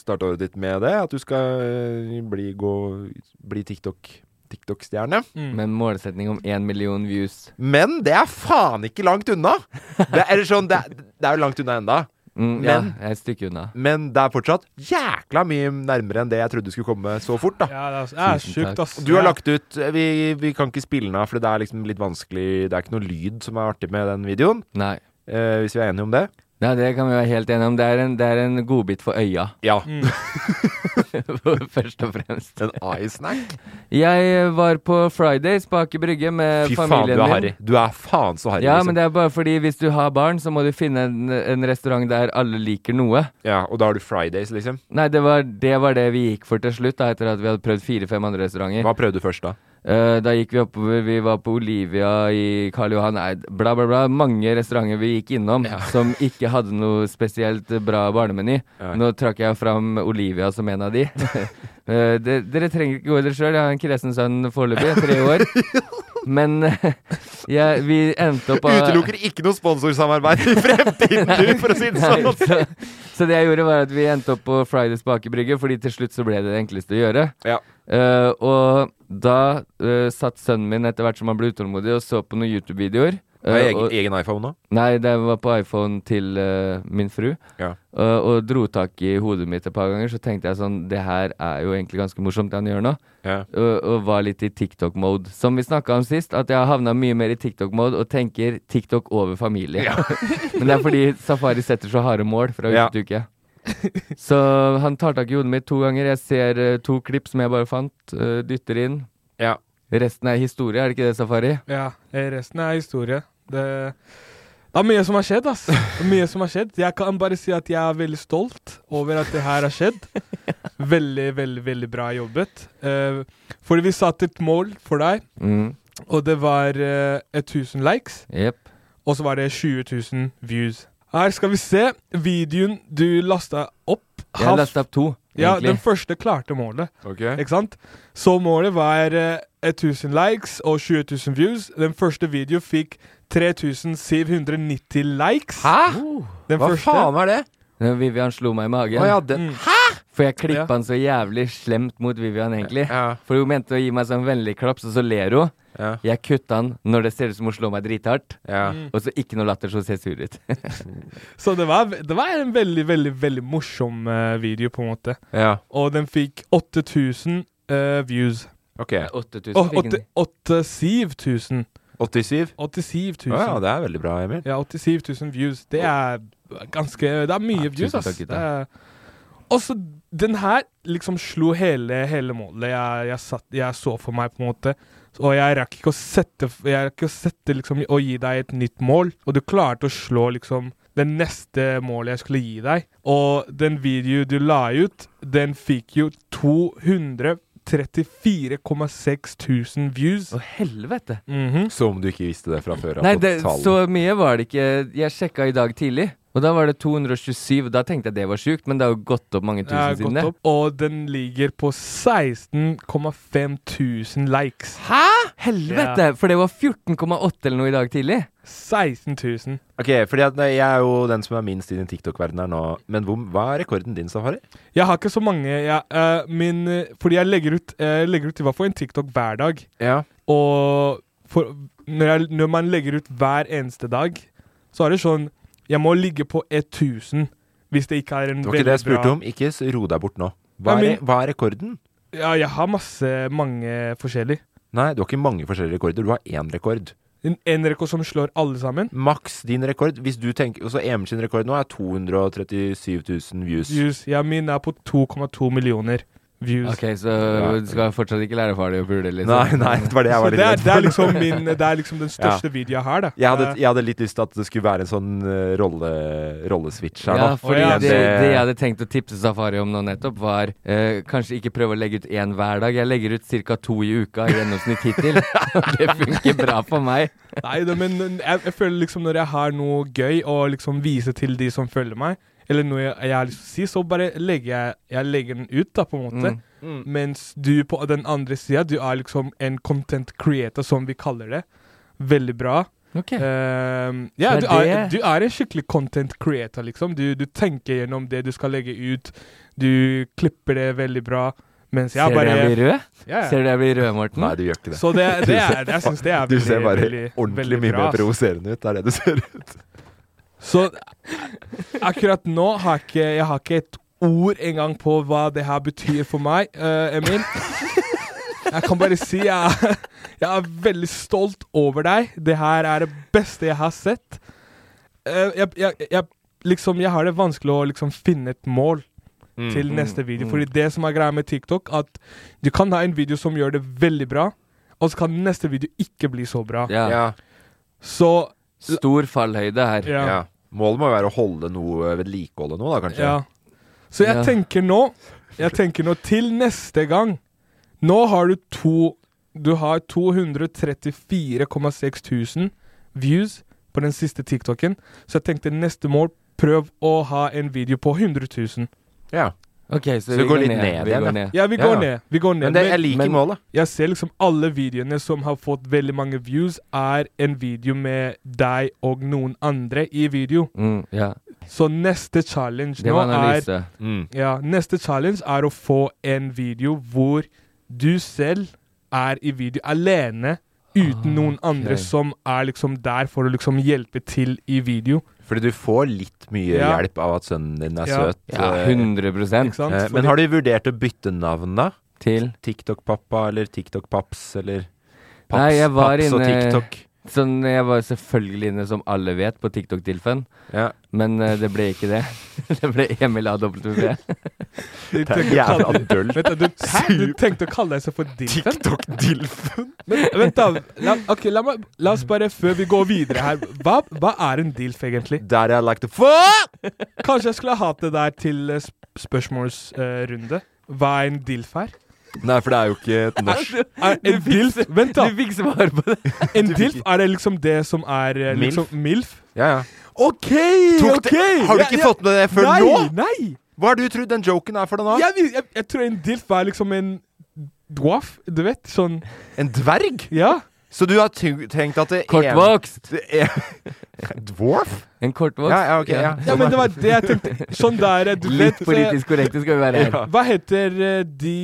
S4: starta året ditt med det. At du skal eh, bli, gå, bli TikTok. TikTok-stjerne.
S5: Med en målsetning om én million views.
S4: Men det er faen ikke langt unna! Det er, eller sånn, det er, det er jo langt unna enda
S5: Mm, ja,
S4: Men-
S5: jeg er et stykke unna.
S4: Men det er fortsatt jækla mye nærmere enn det jeg trodde skulle komme så fort. da
S3: Ja, det er, altså, det er
S5: Tusen
S3: sjukt,
S5: takk.
S3: ass.
S4: Du har lagt ut eh, Vi, vi kan ikke spille den av, for det er liksom litt vanskelig Det er ikke noe lyd som er artig med den videoen.
S5: Nei.
S4: eh, hvis vi er enige om det.
S5: Ja, det kan vi være helt enige om. Det er en, det er en godbit for øya,
S4: Ja.
S5: Mm. først og fremst.
S4: En ice snack.
S5: Jeg eh, var på Fridays på Aker Brygge med
S4: Fy faen, du
S5: familien
S4: er
S5: min.
S4: harry. Du er faen så harry.
S5: Ja,
S4: liksom.
S5: men det er bare fordi hvis du har barn, så må du finne en, en restaurant der alle liker noe.
S4: Ja, og da har du Fridays, liksom.
S5: Nei, det var, det var det vi gikk for til slutt, da, etter at vi hadde prøvd fire-fem andre restauranter.
S4: Hva prøvde du først, da?
S5: Eh, da gikk vi oppover, vi var på Olivia i Karl Johan, nei, bla, bla, bla. Mange restauranter vi gikk innom som ikke hadde noe spesielt bra barnemeny. Nå trakk jeg fram Olivia som en av de. Eh, de dere trenger ikke gå i det sjøl, jeg har en kresen sønn foreløpig, tre år. Men eh, jeg- vi endte opp av-
S4: Utelukker ikke noe sponsorsamarbeid i fremtiden, du, for å si det
S5: Nei,
S4: sånn!
S5: så, så det jeg gjorde var at vi endte opp på Fridays på Aker Brygge, fordi til slutt så ble det det enkleste å gjøre.
S4: Ja.
S5: Eh, og da eh, satt sønnen min etter hvert som han ble utålmodig og så på noen YouTube-videoer. Eh,
S4: egen,
S5: og-
S4: egen iPhone nå?
S5: Nei, det var på iPhone til eh, min fru.
S4: Ja.
S5: Eh, og dro tak i hodet mitt et par ganger, så tenkte jeg sånn Det her er jo egentlig ganske morsomt, det han gjør nå.
S4: Ja.
S5: Og, og var litt i TikTok-mode. Som vi snakka om sist, at jeg har havna mye mer i TikTok-mode og tenker TikTok over familie. Men det er fordi Safari setter så harde mål fra uke
S4: Ja.
S5: til uke. Så han tar tak i hodet mitt to ganger. Jeg ser eh, to klipp som jeg bare fant, eh, dytter inn.
S4: Ja.
S5: Resten er historie, er det ikke det, Safari?
S3: Ja, eh, resten er historie. Det, det er mye som har skjedd, ass. Det er mye som har skjedd. Jeg kan bare si at jeg er veldig stolt over at det her har skjedd. Veldig, veldig, veldig bra jobbet. Eh, fordi vi satte et mål for deg,
S5: Mm.
S3: og det var eh, 1000 likes,
S5: Jepp.
S3: og så var det 20 000 views. Her skal vi se. Videoen du lasta opp
S5: Jeg har lasta opp to,
S3: Ja,
S5: egentlig.
S3: den første klarte målet.
S4: Ok.
S3: Ikke sant? Så målet var eh, 1000 likes og 20 000 views. Den første video fikk 3790 likes.
S4: Hæ? Oh,
S3: Den
S4: Hva
S3: første.
S4: faen er det?
S5: Når Vivian slo meg i magen.
S4: Å ja,
S3: Mm.
S4: den Hæ?!
S5: For jeg klippa
S3: Ja.
S5: han så jævlig slemt mot Vivian, egentlig.
S4: Ja.
S5: For hun mente å gi meg sånn vennlig klaps, og så ler hun.
S4: Ja.
S5: Jeg kutta han når det ser ut som hun slår meg drithardt.
S4: Ja.
S5: Og så ikke noe latter, så hun ser sur ut.
S3: Så det var, det var en veldig, veldig veldig morsom eh, video, på en måte.
S4: ja.
S3: Og den fikk 8000 eh, views.
S4: Ok.
S5: 8000
S3: Å,
S5: fikk
S3: åtte-
S5: han.
S3: åtte- 87 000.
S4: 87?
S3: 87
S4: Å ja,
S3: 000.
S4: det er veldig bra, Emil.
S3: Ja, 87 000 views. Det er ganske Det er mye
S5: Ja,
S3: views,
S5: tusen
S3: ass.
S5: takk, gutta.
S3: Det er- Og så den her liksom slo hele, hele målet jeg, jeg, satt, jeg så for meg, på en måte. Og jeg rakk ikke å sette Jeg rakk ikke å sette liksom Å gi deg et nytt mål, og du klarte å slå liksom det neste målet jeg skulle gi deg. Og den videoen du la ut, den fikk jo 234,6 000 views.
S5: Å, helvete!
S4: Mm.
S3: Mhm.
S4: Som du ikke visste det fra før av
S5: Nei,
S4: på
S5: det,
S4: tallene.
S5: så mye var det ikke. Jeg sjekka i dag tidlig, og da var det 227. Da tenkte jeg det var sjukt, men det har jo gått opp mange
S3: Det er
S5: tusen siden
S3: gått
S5: det.
S3: opp, og den ligger på 16,5 tusen likes.
S5: Hæ?! Helvete! For det var 14,8 eller noe i dag tidlig.
S3: 16 000.
S4: Ok, fordi at nei, jeg er jo den som er minst i den TikTok-verdenen her nå. Men hvor, hva er rekorden din, Safari?
S3: Jeg har ikke så mange jeg, eh, min, eh, Fordi jeg legger ut, eh, legger ut i hvert fall en TikTok hver dag.
S4: Ja.
S3: Og for, når, jeg, når man legger ut hver eneste dag, så er det sånn Jeg må ligge på 1000 hvis det ikke er en
S4: Det
S3: veldig
S4: var ikke det jeg spurte
S3: bra-
S4: om. Ikke s- ro deg bort nå.
S3: Nei,
S4: Hva er,
S3: men-
S4: hva er rekorden?
S3: Ja, jeg har masse, mange forskjellige.
S4: Nei, du har ikke mange forskjellige rekorder. Du har én rekord.
S3: En, en rekord som slår alle sammen.
S4: Maks din rekord. Hvis du tenker Også Emil sin rekord nå er 237 000 views.
S3: Views. Ja, min er på 2,2 millioner views.
S5: Ok, så
S4: Ja.
S5: du skal fortsatt ikke lære far det å pule, liksom.
S4: Nei, nei, det var det jeg
S3: Så
S4: var
S3: det
S4: litt
S3: er,
S4: redd
S3: det, er
S4: for.
S3: liksom min, det er liksom den største videoen jeg har. Da.
S4: Jeg hadde,
S3: Eh,
S4: jeg hadde litt lyst til at det skulle være en sånn eh, rolle, rolleswitch her, eh,
S5: Ja,
S4: da.
S5: fordi
S3: Å, ja.
S5: det,
S4: Det-
S5: det jeg hadde tenkt å tipse Safari om nå nettopp, var eh, kanskje ikke prøve å legge ut én hver dag. Jeg legger ut ca. to i uka i gjennomsnitt hittil. Og det funker bra for meg.
S3: Eh, Nei, det, men jeg, jeg føler liksom når jeg har noe gøy å liksom vise til de som følger meg, eller noe jeg, jeg har lyst til å si, så bare legger jeg, jeg legger den ut, da, på en
S4: Mm.
S3: måte. Mens du på den andre sida, du er liksom en content creator, som vi kaller det. Veldig bra.
S5: Ok.
S3: Ehm, ja,
S5: Så er
S3: du er,
S5: det-
S3: du er en skikkelig content creator, liksom. Du, du tenker gjennom det du skal legge ut. Du klipper det veldig bra. Mens jeg
S5: Ser du
S3: bare
S5: jeg blir rød?
S3: Ja, ja.
S5: Ser du jeg blir rød, Morten?
S4: Nei, du gjør ikke det.
S3: Så det, det er, jeg syns det er
S4: Du
S3: veldig,
S4: ser bare
S3: veldig,
S4: ordentlig
S3: veldig
S4: mye
S3: bra,
S4: mer
S3: ass.
S4: provoserende ut. Det er det du ser ut.
S3: Så akkurat nå har ikke, jeg har ikke et ord engang på hva det her betyr for meg, eh, Emil. Jeg kan bare si jeg, jeg er veldig stolt over deg. Det her er det beste jeg har sett. Eh, jeg, jeg, jeg, liksom, jeg har det vanskelig å liksom, finne et mål
S4: Mm,
S3: til neste video. Fordi det som er greia med TikTok, at du kan ha en video som gjør det veldig bra, og så kan neste video ikke bli så bra.
S5: Ja.
S3: Så
S5: Stor fallhøyde her.
S3: ja.
S4: Ja. Målet må jo være å holde noe, vedlikeholde noe, da, kanskje.
S3: Ja. Så jeg
S5: Ja.
S3: tenker nå Jeg tenker nå til neste gang Nå har du to Du har 234,6 tusen views på den siste TikToken. Så jeg tenkte neste mål prøv å ha en video på 100 000.
S4: Ja.
S5: Ok, så,
S4: Så
S5: vi
S4: går
S5: går
S4: litt
S5: ned.
S4: ned
S5: vi
S4: igjen, ja.
S5: går ned.
S3: Ja, vi
S4: Ja,
S3: går
S4: ja.
S3: ned. Vi går ned.
S4: Men det, jeg liker
S5: men-
S4: målet.
S3: jeg ser liksom alle videoene som har fått veldig mange views, er en video med deg og noen andre i video.
S5: Mm, ja.
S3: Så neste challenge
S5: Det
S3: nå
S5: var
S3: er
S5: analyse.
S3: Ja, neste challenge er å få en video hvor du selv er i video alene uten
S4: Ah,
S3: noen
S5: ok.
S3: andre som er liksom der for å liksom hjelpe til i video.
S4: Fordi du får litt mye
S3: Ja.
S4: hjelp av at sønnen din er
S3: Ja.
S4: søt.
S5: Ja,
S4: eh,
S5: 100
S3: Ikke sant?
S4: eh, Men har du vurdert å bytte navn, da?
S5: til
S4: TikTok-pappa eller TikTok-paps eller Paps,
S5: Nei, jeg var
S4: paps og
S5: inne-
S4: TikTok.
S5: Sånn, jeg var selvfølgelig inne, som alle vet, på TikTok-tilfen,
S4: Ja.
S5: men eh, det ble ikke det. det ble Emil AW.
S3: Du
S4: Det er
S3: tenkte å kalle-
S4: jævla dølt.
S3: Vent da, du, hæ? du tenkte å kalle deg selv for Dilfen?
S4: TikTok-dilfen.
S3: Men vent da, la, ok, la, meg, la oss bare, før vi går videre her Hva, hva er en dilf egentlig?
S4: Der jeg like to fuck!
S3: Kanskje jeg skulle hatt det der til eh, sp- spørsmålsrunde? Hva er en dilf her?
S4: Nei, for det er jo ikke et norsk
S3: Er en dilf, vent da,
S5: Du fikk svar på det!
S3: en dilf, er det liksom det som er eh,
S4: Milf?
S3: liksom, milf?
S4: Ja, ja.
S3: Ok,
S4: Tok
S3: ok
S4: det- Har du ikke fått med det før
S3: nei,
S4: nå?
S3: Nei,
S4: Hva har du trodd den joken er for deg nå?
S3: jeg, vil- jeg, jeg tror en dilf er liksom en dwarf, du vet, sånn
S4: En dverg?
S3: Ja,
S4: Så du har ty- tenkt at det
S5: Kortvokst!
S4: Det er- Dwarf?
S5: En kortvokst.
S4: Ja, ja, ok. Ja.
S3: ja men det var det jeg tenkte Sånn der, eh, du
S5: Litt
S3: vet eh,
S5: politisk korrekte skal vi være her.
S3: Hva heter eh, de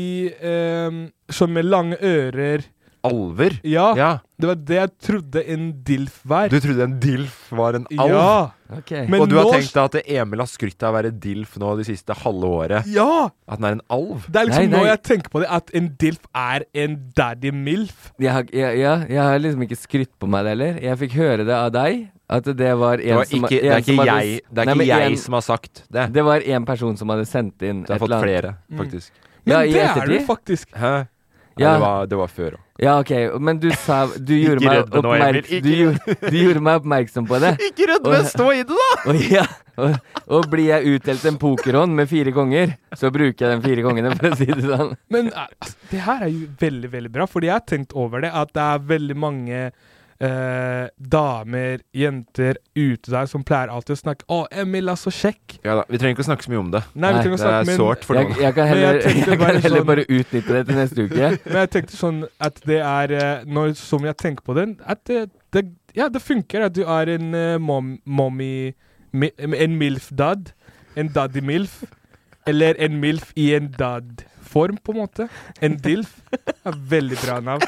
S3: ehm, som med lange ører
S4: Alver?
S3: Ja,
S4: Ja.
S3: det var det jeg trodde en dilf var.
S4: Du trodde en dilf var en alv?
S3: ja,
S5: Ok.
S3: men
S4: og du har
S3: nå-
S4: tenkt deg at Emil har skrytt av å være dilf nå det siste halve året?
S3: Ja!
S4: At han er en alv?
S3: Det er liksom
S5: Nei, nei.
S3: nå jeg tenker på det, at en dilf er en daddy milf.
S5: Jeg har, ja, ja, jeg har liksom ikke skrytt på meg det heller. Jeg fikk høre det av deg. At det var
S4: Det,
S5: en
S4: var
S5: som
S4: ikke, det er
S5: en som
S4: ikke
S5: hadde-
S4: jeg, det er
S5: Nei,
S4: ikke
S5: men en-
S4: jeg som har sagt det.
S5: Det var en person som hadde sendt inn
S4: Du har
S5: et
S4: fått
S5: eller annet.
S4: flere,
S3: Mm.
S4: faktisk.
S3: Men
S5: Ja, i
S3: det er det
S5: ettertid?
S3: faktisk.
S4: Hæ? Ja.
S5: Ja.
S4: Det, var, det var før òg.
S5: Ja, ok, men du sa Du gjorde, meg,
S4: redd meg nå, Emil,
S5: oppmerk
S4: ikke
S5: du, gjorde- du gjorde meg oppmerksom på det.
S4: Ikke redd,
S5: men
S4: stå i det, da!
S5: Og, ja, og, og blir jeg utdelt en pokerhånd med fire konger, så bruker jeg de fire kongene, for å si det sånn.
S3: Men eh, altså, det her er jo veldig, veldig bra, fordi jeg har tenkt over det, at det er veldig mange eh, damer, jenter ute der som pleier alltid å snakke 'Å, Emil er så kjekk'.
S4: Ja da, Vi trenger ikke å snakke så mye om det.
S3: Nei,
S5: Nei,
S3: vi trenger å
S4: Det
S3: snakke
S4: er
S3: men-
S4: sårt for
S5: Jeg,
S4: noen.
S5: jeg kan
S3: Men jeg
S5: heller, jeg
S3: tenkte
S5: kan
S3: bare
S5: heller
S3: sånn-
S5: bare utnytte det til neste uke.
S3: Men jeg tenkte sånn at det er eh, Når som jeg tenker på den At det, det, ja, det funker at du er en eh, mom, mommy mi, En milf-dad En daddy-milf Eller en milf i en dad-form på en måte En dilf er Veldig bra navn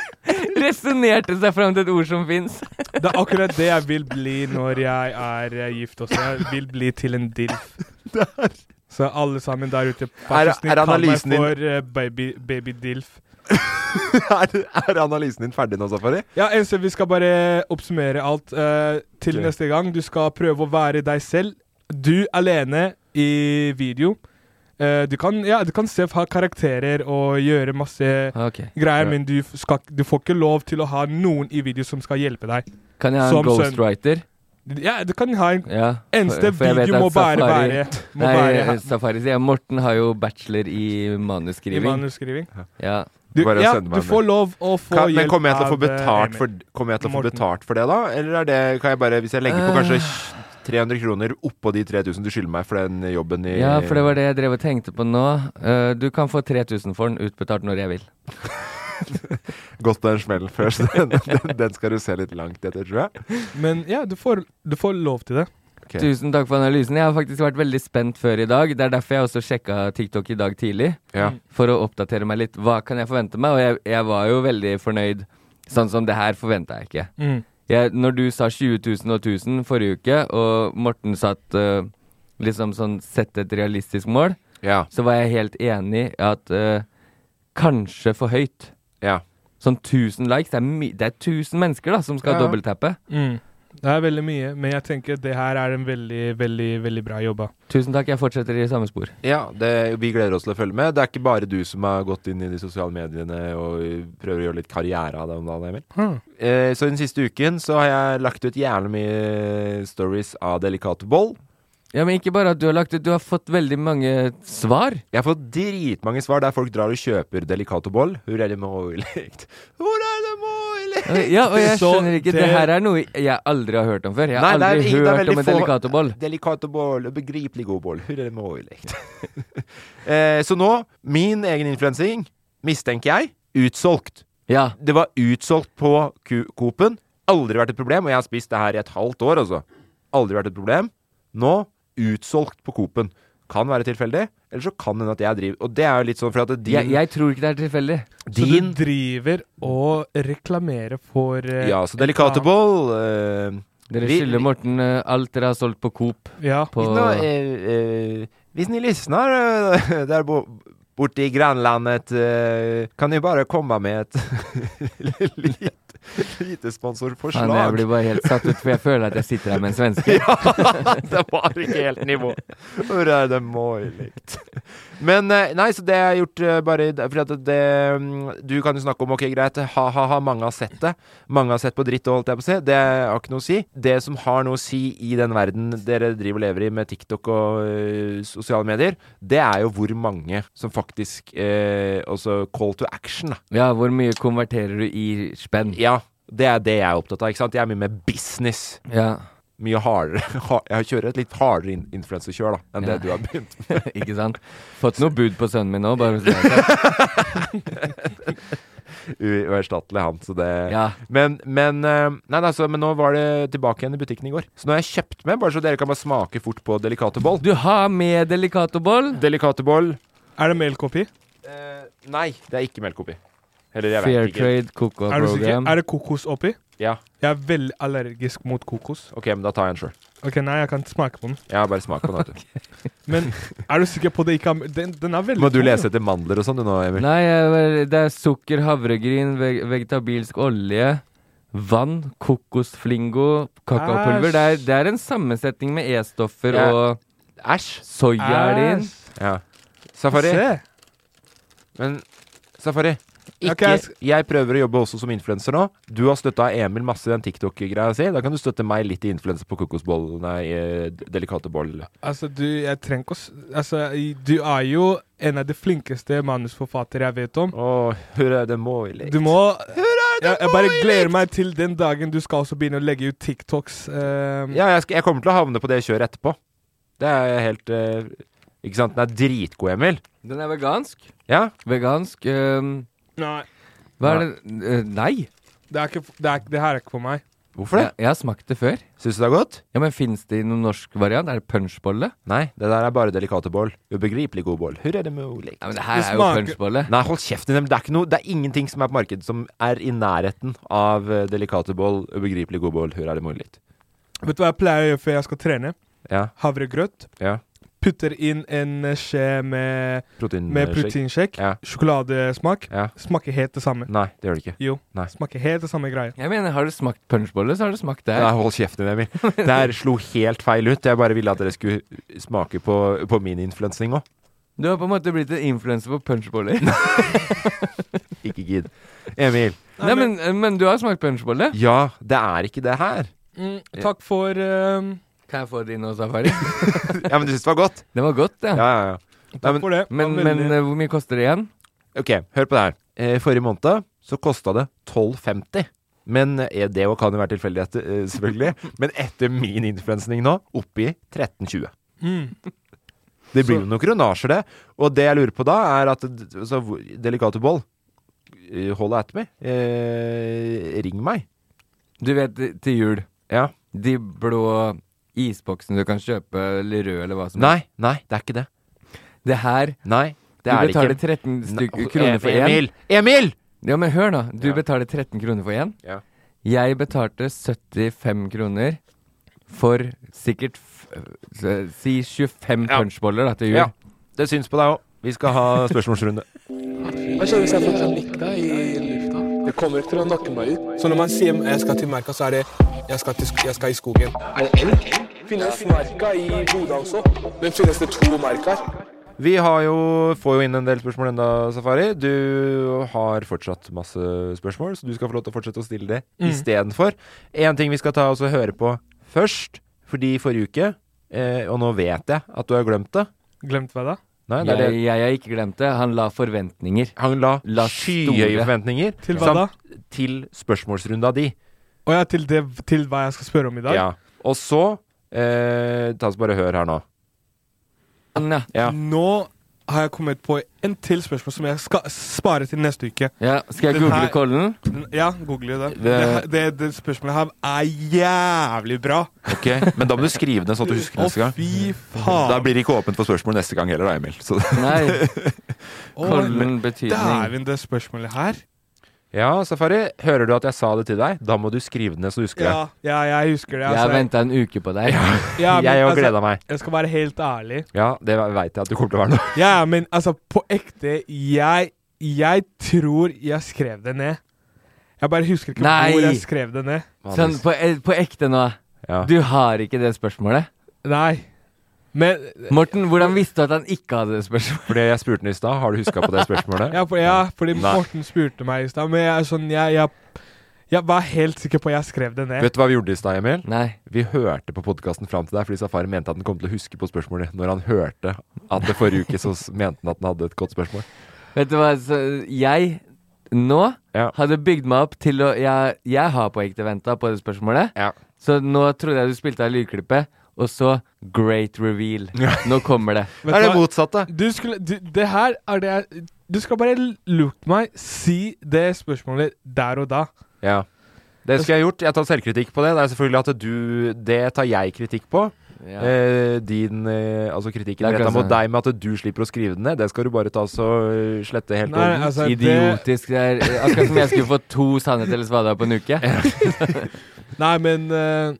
S5: Resonnerte seg fram til et ord som fins.
S3: Det er akkurat det jeg vil bli når jeg er eh, gift også Jeg vil bli til en dilf Så alle sammen der ute
S4: Er-
S3: Vær så
S4: er
S3: snill, kall meg
S4: analysen din-
S3: for eh, baby, baby dilf
S4: er, er analysen din ferdig nå, Safari?
S3: Ja, Else, vi skal bare oppsummere alt eh, til
S4: Ok.
S3: neste gang. Du skal prøve å være deg selv. Du alene i video. Eh, du, kan, ja, du kan se ha karakterer og gjøre masse
S5: Ok
S4: Ja.
S3: greier, men du, f- skal, du får ikke lov til å ha noen i video som skal hjelpe deg.
S5: Kan jeg ha
S3: Som
S5: en
S3: sønn.
S5: ghostwriter?
S3: Ja, du kan ha en
S5: Ja.
S3: eneste
S5: for- for jeg vet
S3: video
S5: at
S3: må bare
S5: Safari-
S3: være, må
S5: Nei, eh,
S3: være
S5: Safari sier Morten har jo bachelor i
S3: i
S5: manusskriving.
S3: manusskriving.
S5: Ja.
S3: Du,
S4: Bare
S3: ja,
S4: send meg
S3: du
S4: en
S3: får lov å få
S4: Kan, men
S3: hjelp
S4: kommer jeg til å få
S3: av, eh,
S4: betalt
S3: Emil.
S4: for, kommer jeg til å få
S3: Morten.
S4: betalt for det, da? Eller er det, kan jeg bare, hvis jeg legger på kanskje 300 kroner oppå de 3000 du skylder meg for den jobben i
S5: ja, for det var det jeg drev og tenkte på nå. Eh, du kan få 3000 for den utbetalt når jeg vil.
S4: Gått på den smellen før, så den, den, den skal du se litt langt etter, tror jeg.
S3: Men ja, du får, du får lov til det.
S4: Ok.
S5: Tusen takk for analysen. Jeg har faktisk vært veldig spent før i dag. Det er derfor jeg også sjekka TikTok i dag tidlig.
S4: Ja.
S5: For å oppdatere meg litt. Hva kan jeg forvente meg? Og jeg, jeg var jo veldig fornøyd. Sånn som det her forventa jeg ikke.
S3: Mm.
S5: Jeg, når du sa 20 000 og 1000 forrige uke, og Morten satt eh, liksom sånn Sett et realistisk mål,
S4: ja.
S5: så var jeg helt enig i at eh, kanskje for høyt.
S4: Ja.
S5: Sånn 1000 likes. Det er, my det er 1000 mennesker da som skal
S4: Ja.
S5: dobbelttappe.
S3: Mm. Det er veldig mye, men jeg tenker det her er en veldig, veldig, veldig bra jobba.
S5: Tusen takk, jeg fortsetter i samme spor.
S4: Ja, det, vi gleder oss til å følge med. Det er ikke bare du som har gått inn i de sosiale mediene og prøver å gjøre litt karriere av det om dagen, Emil.
S5: Hmm.
S4: Eh, så den siste uken så har jeg lagt ut jævlig mye stories av Delikate Boll.
S5: Ja, men ikke bare at du har lagt ut, du har fått veldig mange svar.
S4: Jeg har fått dritmange svar der folk drar og kjøper Delicato Boll. Hvor er det mulig? Hvor er det mulig?
S5: Ja, og jeg
S3: Så
S5: skjønner ikke, det
S3: det-
S5: her er noe jeg aldri har hørt om før. Jeg har
S4: Nei, det er
S5: aldri
S4: ingen- det er
S5: hørt
S4: veldig
S5: om en
S4: få-
S5: delikatoboll.
S4: Delicato Boll, begripelig god boll. Hvor er det mulig? eh, så nå, min egen influensing, mistenker jeg, utsolgt.
S5: Ja.
S4: Det var utsolgt på Ku- Coop-en. Aldri vært et problem, og jeg har spist det her i et halvt år, altså. Aldri vært et problem. Nå utsolgt på Coop-en. kan være tilfeldig, eller så kan det hende at jeg driver Og det er jo litt sånn for at din,
S5: Jeg, jeg tror ikke det er tilfeldig.
S3: Så
S4: din
S3: du driver og reklamerer for eh,
S4: Ja, så Delicatable eh,
S5: Dere
S4: Vi-
S5: skylder Morten eh, alt dere har solgt på Coop.
S3: Ja.
S5: På
S4: Hvis, nå, eh, eh, hvis ni lyssnar eh, där bo, borte i grannlandet eh, kan ni bara komma med ett lite, lite sponsorförslag.
S5: Faen, jeg blir bare helt satt ut, for jeg føler at jeg sitter her med en svenske.
S4: ja, det var ikke helt nivå. Hvordan er det mulig? Men eh, nei, så det jeg har gjort eh, bare i- fordi at det mm, Du kan jo snakke om ok, greit, ha-ha-ha, mange har sett det. Mange har sett på dritt og holdt jeg på å si. Det har ikke noe å si. Det som har noe å si i den verden dere driver og lever i med TikTok og eh, sosiale medier, det er jo hvor mange som faktisk eh, Også call to action, da.
S5: Ja, hvor mye konverterer du i spenn?
S4: Ja. Det er det jeg er opptatt av. ikke sant? Jeg er mye mer business
S5: Ja,
S4: mye hardere ha- Jeg kjører et litt hardere in- influenserkjør da enn
S5: Ja.
S4: det du har begynt med.
S5: ikke sant? Fått noe bud på sønnen min nå, bare for å si det.
S4: U- Uerstattelig han, så det
S5: Ja.
S4: Men, men eh, Nei, nei, så- men nå var det tilbake igjen i butikken i går. Så nå har jeg kjøpt med, bare så dere kan bare smake fort på Delicate Boll.
S5: Du har med Delicatoboll.
S4: Delicate Boll
S3: Er det melkopi?
S4: eh, Nei, det er ikke melk oppi. Eller jeg
S5: Fair
S4: vet ikke.
S5: Trade Cocoa
S3: Er du sikker?
S5: Program.
S3: Er det kokos oppi?
S4: Ja,
S3: Jeg er veldig allergisk mot kokos.
S4: OK, men da tar jeg en sjøl.
S3: Ok, Nei, jeg kan smake på den.
S4: Jeg har bare smak på den. vet du.
S3: Men er du sikker på det ikke er Den, den er veldig
S4: Må du
S3: tung,
S4: lese
S3: jo.
S4: etter mandler og sånn du nå, Emil?
S5: Nei, jeg- det er sukker, havregryn, veg vegetabilsk olje, vann, kokosflingo, kakaopulver. Det er, det er en sammensetning med E-stoffer
S4: Ja.
S5: og
S4: Æsj.
S5: soya er det inn.
S3: Æsj.
S4: Ja. Safari.
S3: Se.
S4: Men Safari. Ikke,
S3: Ok, jeg sk-
S4: jeg prøver å jobbe også som influenser nå. Du har støtta Emil masse i den TikTok-greia si. Da kan du støtte meg litt i influenser på kokosboll... Nei, eh, delikate boll.
S3: Altså, du, jeg trenger ikke å s- Altså, i- du er jo en av de flinkeste manusforfattere jeg vet om.
S4: Å, hurra, det må vi
S3: Du må jeg, jeg bare gleder meg til den dagen du skal også begynne å legge ut TikToks. eh,
S4: Ja, jeg, skal, jeg kommer til å havne på det kjøret etterpå. Det er jeg helt eh, Ikke sant? Den er dritgod, Emil.
S5: Den er vegansk.
S4: Ja?
S5: Vegansk øhm,
S3: Nei,
S5: Hva er det øh, Nei!
S3: det, er ikke, f- det, er, ikke- det her er ikke for meg.
S4: Hvorfor det?
S5: Jeg, jeg har smakt det før.
S4: Syns du det er godt?
S5: Ja, men Fins det i noen norsk variant? Er det punchbolle?
S4: Nei, det der er bare delikate boll. Ubegripelig god boll. Hurra, det mulig.
S5: Ja, men det her
S3: Det
S5: er jo
S3: smaker-
S5: punchbolle.
S4: Nei, hold kjeft. Emil. Det er, ikke noe, det er ingenting som er på markedet som er i nærheten av eh, delikate boll, ubegripelig god boll, hurra, det mulig.
S3: Vet du hva jeg pleier å gjøre før jeg skal trene?
S4: Ja.
S3: Havregrøt.
S4: ja.
S3: Putter inn en eh, skje med,
S4: Protein eh,
S3: med
S4: shake.
S3: proteinshake.
S4: Ja.
S3: Sjokoladesmak.
S4: Ja.
S3: Smaker helt det samme.
S4: Nei, det gjør det ikke.
S3: Jo.
S4: Nei.
S3: Smaker helt det samme greia.
S5: Jeg mener, Har du smakt punchbolle, så har du smakt det
S4: Nei,
S5: her.
S4: hold kjeften, Emil. Det her slo helt feil ut. Jeg bare ville at dere skulle smake på, på min influensning òg.
S5: Du har på en måte blitt en influenser på punchboller.
S4: Ikke gidd. Emil.
S5: Nei, men, men du har smakt punchbolle?
S4: Ja, det er ikke det her.
S3: Mm, takk for eh,
S5: Kan jeg få det inn hos Safari?
S4: Ja, men du syns det var godt?
S5: Det var godt, det.
S4: Ja, ja, ja. Nei,
S3: Takk
S4: men,
S3: for det.
S5: Men,
S3: Det var
S5: men
S3: veldig-
S5: eh, hvor mye koster det igjen?
S4: ok, hør på det her. Eh, Forrige måned så kosta det 12,50. Men eh, det jo kan jo være tilfeldighet, eh, selvfølgelig. Men etter min influensning nå, oppi 13,20.
S3: Mm.
S4: Det blir jo noen kronasjer, det. Og det jeg lurer på da, er at d- så, hvor- Delicate Boll eh, Hold at me. Eh, ring meg.
S5: Du vet, eh, til jul.
S4: Ja.
S5: De blå isboksene du kan kjøpe, eller røde, eller hva som
S4: Nei, nei, det er ikke det.
S5: helst. Det her
S4: Nei, det
S5: Du
S4: er det ikke.
S5: betaler 13 stykk,
S4: Nei, altså,
S5: kroner for én.
S4: Emil! Emil!
S5: Ja, men hør nå. Du
S4: Ja.
S5: betaler 13 kroner for én.
S4: Ja.
S5: Jeg betalte 75 kroner for sikkert f s- Si 25
S4: Ja.
S5: punchboller da, til jul.
S4: Ja, det syns på deg òg. Vi skal ha spørsmålsrunde.
S6: Hva skjer hvis jeg får panikk i lufta? Det kommer ikke til å nakke meg ut.
S7: Så når man sier jeg skal til merka, så er det jeg skal, til, sk- jeg skal i skogen.
S6: Er det elg? Finnes merka i Bodø også? Men finnes det to merker?
S4: Vi har jo, får jo inn en del spørsmål enda, Safari. Du har fortsatt masse spørsmål, så du skal få lov til å fortsette å stille det istedenfor. En ting vi skal ta oss og høre på først, fordi forrige uke eh, Og nå vet jeg at du har glemt det.
S3: Glemt hva da?
S4: Nei, det er
S5: Jeg,
S4: det.
S5: jeg har ikke glemt det. Han la forventninger.
S4: Han la,
S5: La
S4: skyhøye
S5: store.
S4: forventninger
S3: Til hva da?
S4: til spørsmålsrunda di.
S3: Å ja, til, det, til hva jeg skal spørre om i dag?
S4: Ja. Og så eh, Ta oss bare hør her nå.
S5: Ja.
S4: Ja.
S3: Nå har jeg kommet på en til spørsmål som jeg skal spare til neste uke.
S5: Ja, skal jeg
S3: Den her-
S5: google Kollen?
S3: Den- Ja, google det.
S5: Det-
S3: Det, det, det spørsmålet her er jævlig bra.
S4: Ok, Men da må du skrive ned sånn at du husker
S3: Å,
S4: neste gang.
S3: fy
S4: Da
S3: faen.
S4: blir det ikke åpent for spørsmål neste gang heller, da, Emil. Så.
S5: Nei,
S3: Å,
S5: Kollen
S4: altså.
S5: betydning.
S3: Dæven, det spørsmålet her.
S4: Ja, Safari, hører du at jeg sa det til deg? Da må du skrive det ned, så du husker
S3: Ja, ja, jeg husker det. altså.
S5: Jeg har venta en uke på deg.
S3: Ja, men,
S4: jeg òg
S3: altså,
S4: gleda meg.
S3: Jeg skal være helt ærlig.
S4: Ja, det veit jeg at du kommer til å være nå.
S3: Ja, men altså, på ekte, jeg, jeg tror jeg skrev det ned. Jeg bare husker ikke
S5: Nei.
S3: hvor jeg skrev det ned.
S5: Sånn, på, e- på ekte nå.
S4: Ja.
S5: Du har ikke det spørsmålet.
S3: Nei. Men
S5: Morten, hvordan visste du at han ikke hadde det spørsmålet?
S4: Fordi jeg spurte den i stad. Har du huska på det spørsmålet?
S3: Ja, for, ja fordi
S4: Nei.
S3: Morten spurte meg i stad, men jeg, er sånn, jeg, jeg, jeg var helt sikker på at jeg skrev det ned.
S4: Vet du hva vi gjorde i stad, Emil?
S5: Nei.
S4: Vi hørte på podkasten fram til deg fordi Safari mente at han kom til å huske på spørsmålet når han hørte at det forrige uke så s- mente han at han hadde et godt spørsmål.
S5: Vet du hva, så jeg nå
S4: Ja.
S5: hadde bygd meg opp til å Jeg, jeg har på ekte venta på det spørsmålet,
S4: Ja.
S5: så nå trodde jeg du spilte av lydklippet, og så great reveal. Nå kommer det.
S3: Vet
S4: er
S3: du
S4: det
S3: hva?
S4: motsatte?
S3: Du skulle du, Det her er det jeg Du skal bare lurt meg si det spørsmålet der og da.
S4: Ja. Det skulle jeg gjort. Jeg tar selvkritikk på det. Det er selvfølgelig at du Det tar jeg kritikk på.
S5: Ja.
S4: Eh, din eh, Altså kritikken
S5: Det er
S4: retta
S5: kanskje-
S4: mot deg med at du slipper å skrive den ned, det skal du bare ta så eh, slette helt
S3: Nei,
S4: orden.
S3: altså, det,
S5: Idiotisk. Det er eh, akkurat som jeg skulle få to sannheter eller svada på en uke.
S3: nei men eh,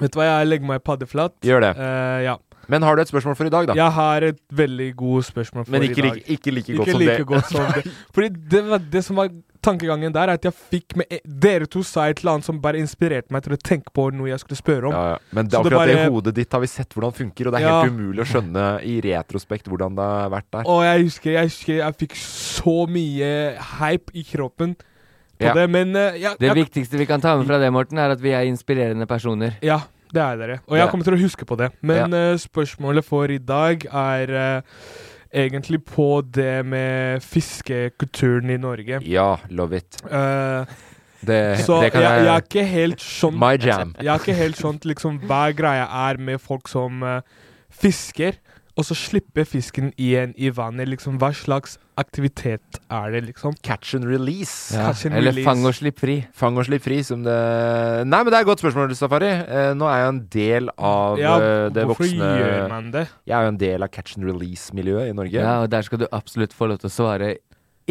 S3: Vet du hva, jeg legger meg paddeflat.
S4: Gjør det.
S3: Eh, ja.
S4: Men har du et spørsmål for i dag, da?
S3: Jeg har et veldig godt spørsmål for
S4: Men
S3: i
S4: ikke,
S3: dag.
S4: like- ikke like godt
S3: Ikke
S4: som
S3: like
S4: det.
S3: godt som det. Fordi det, var det som var tankegangen der, er at jeg fikk med Dere to sa et eller annet som bare inspirerte meg til å tenke på noe jeg skulle spørre om.
S4: Ja, ja. Men det,
S3: Så
S4: er
S3: det
S4: akkurat det i
S3: bare-
S4: hodet ditt har vi sett hvordan funker, og det er
S3: Ja.
S4: helt umulig å skjønne i retrospekt hvordan det har vært der.
S3: Og jeg husker jeg, husker jeg fikk så mye hype i kroppen på
S4: Ja.
S3: det, men eh, jeg,
S5: Det
S3: jeg,
S5: viktigste vi kan ta med fra det, Morten, er at vi er inspirerende personer.
S3: Ja, det er dere. Og
S4: Ja.
S3: jeg kommer til å huske på det. Men eh, spørsmålet for i dag er eh, egentlig på det med fiskekulturen i Norge.
S4: Ja, love it.
S3: Eh,
S4: Det,
S3: så
S4: det
S3: jeg,
S4: kan
S3: jeg
S4: jeg,
S3: er ikke helt sånn
S4: My jam.
S3: Jeg er ikke helt sånn liksom, hva greia er med folk som eh, fisker, og så slipper fisken igjen i vannet. Liksom, hva slags aktivitet er det, liksom?
S4: Catch and release.
S5: Ja.
S3: Catch and
S5: Eller
S3: release.
S5: fang og slipp fri.
S4: Fang og slipp fri, som det Nei, men det er et godt spørsmål, Safari. Eh, nå er jeg jo en del av
S3: Ja,
S4: eh, det
S3: hvorfor
S4: voksne
S3: gjør man det?
S4: Jeg er jo en del av catch and release-miljøet i Norge.
S5: Ja, og der skal du absolutt få lov til å svare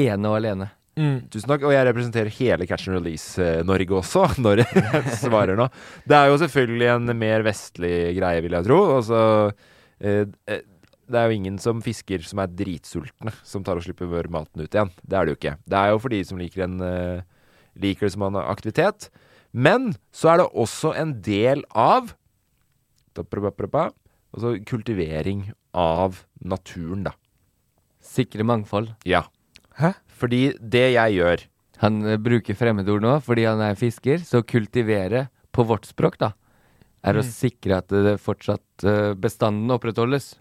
S5: ene og alene.
S3: Mm.
S4: Tusen takk. Og jeg representerer hele Catch and Release-Norge også, når jeg svarer nå. Det er jo selvfølgelig en mer vestlig greie, vil jeg tro. Altså, eh, eh, det er jo ingen som fisker som er dritsultne, som tar og slipper maten ut igjen. Det er det jo ikke. Det er jo for de som liker, en, eh, liker det som en aktivitet. Men så er det også en del av altså kultivering av naturen, da.
S5: Sikre mangfold.
S4: Ja.
S3: Hæ?
S4: Fordi det jeg gjør
S5: Han eh, bruker fremmedord nå fordi han er fisker, så kultivere på vårt språk, da, er å sikre at det fortsatt eh, bestanden opprettholdes.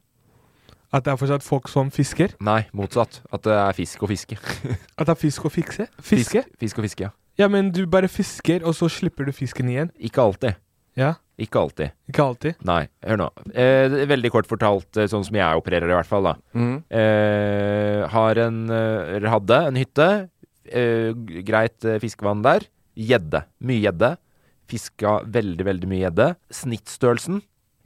S3: At det er fortsatt folk som fisker?
S4: Nei, motsatt. At det er fisk og fiske.
S3: At det er fisk å fikse? Fiske?
S4: Fisk, fisk og fiske, ja.
S3: Ja, men du bare fisker, og så slipper du fisken igjen.
S4: Ikke alltid.
S3: Ja,
S4: Ikke alltid.
S3: ikke alltid.
S4: Nei, hør nå. Eh, det er veldig kort fortalt, eh, sånn som jeg opererer i hvert fall, da.
S5: Mm.
S4: Eh, har en eh, Eller hadde en hytte. Eh, g- greit eh, fiskevann der. Gjedde. Mye gjedde. Fiska veldig, veldig mye gjedde. Snittstørrelsen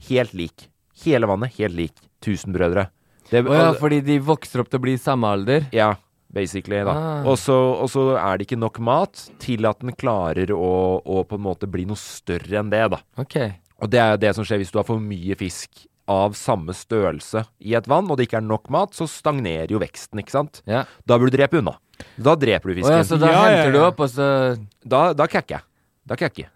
S4: helt lik. Hele vannet helt lik. Tusenbrødre. Det,
S5: Å ja, fordi de vokser opp til å bli samme alder.
S4: Ja, basically, da.
S5: Ah.
S4: Og så og så er det ikke nok mat til at den klarer å, å på en måte bli noe større enn det, da.
S5: Ok.
S4: Og det er jo det som skjer hvis du har for mye fisk av samme størrelse i et vann, og det ikke er nok mat, så stagnerer jo veksten, ikke sant?
S5: Ja.
S4: Da burde du drepe unna. Da dreper du
S5: Å
S4: fisken.
S5: ja, så da
S3: Ja, ja, ja.
S5: henter du opp, og så
S4: Da, da kakker jeg. Da kakker jeg.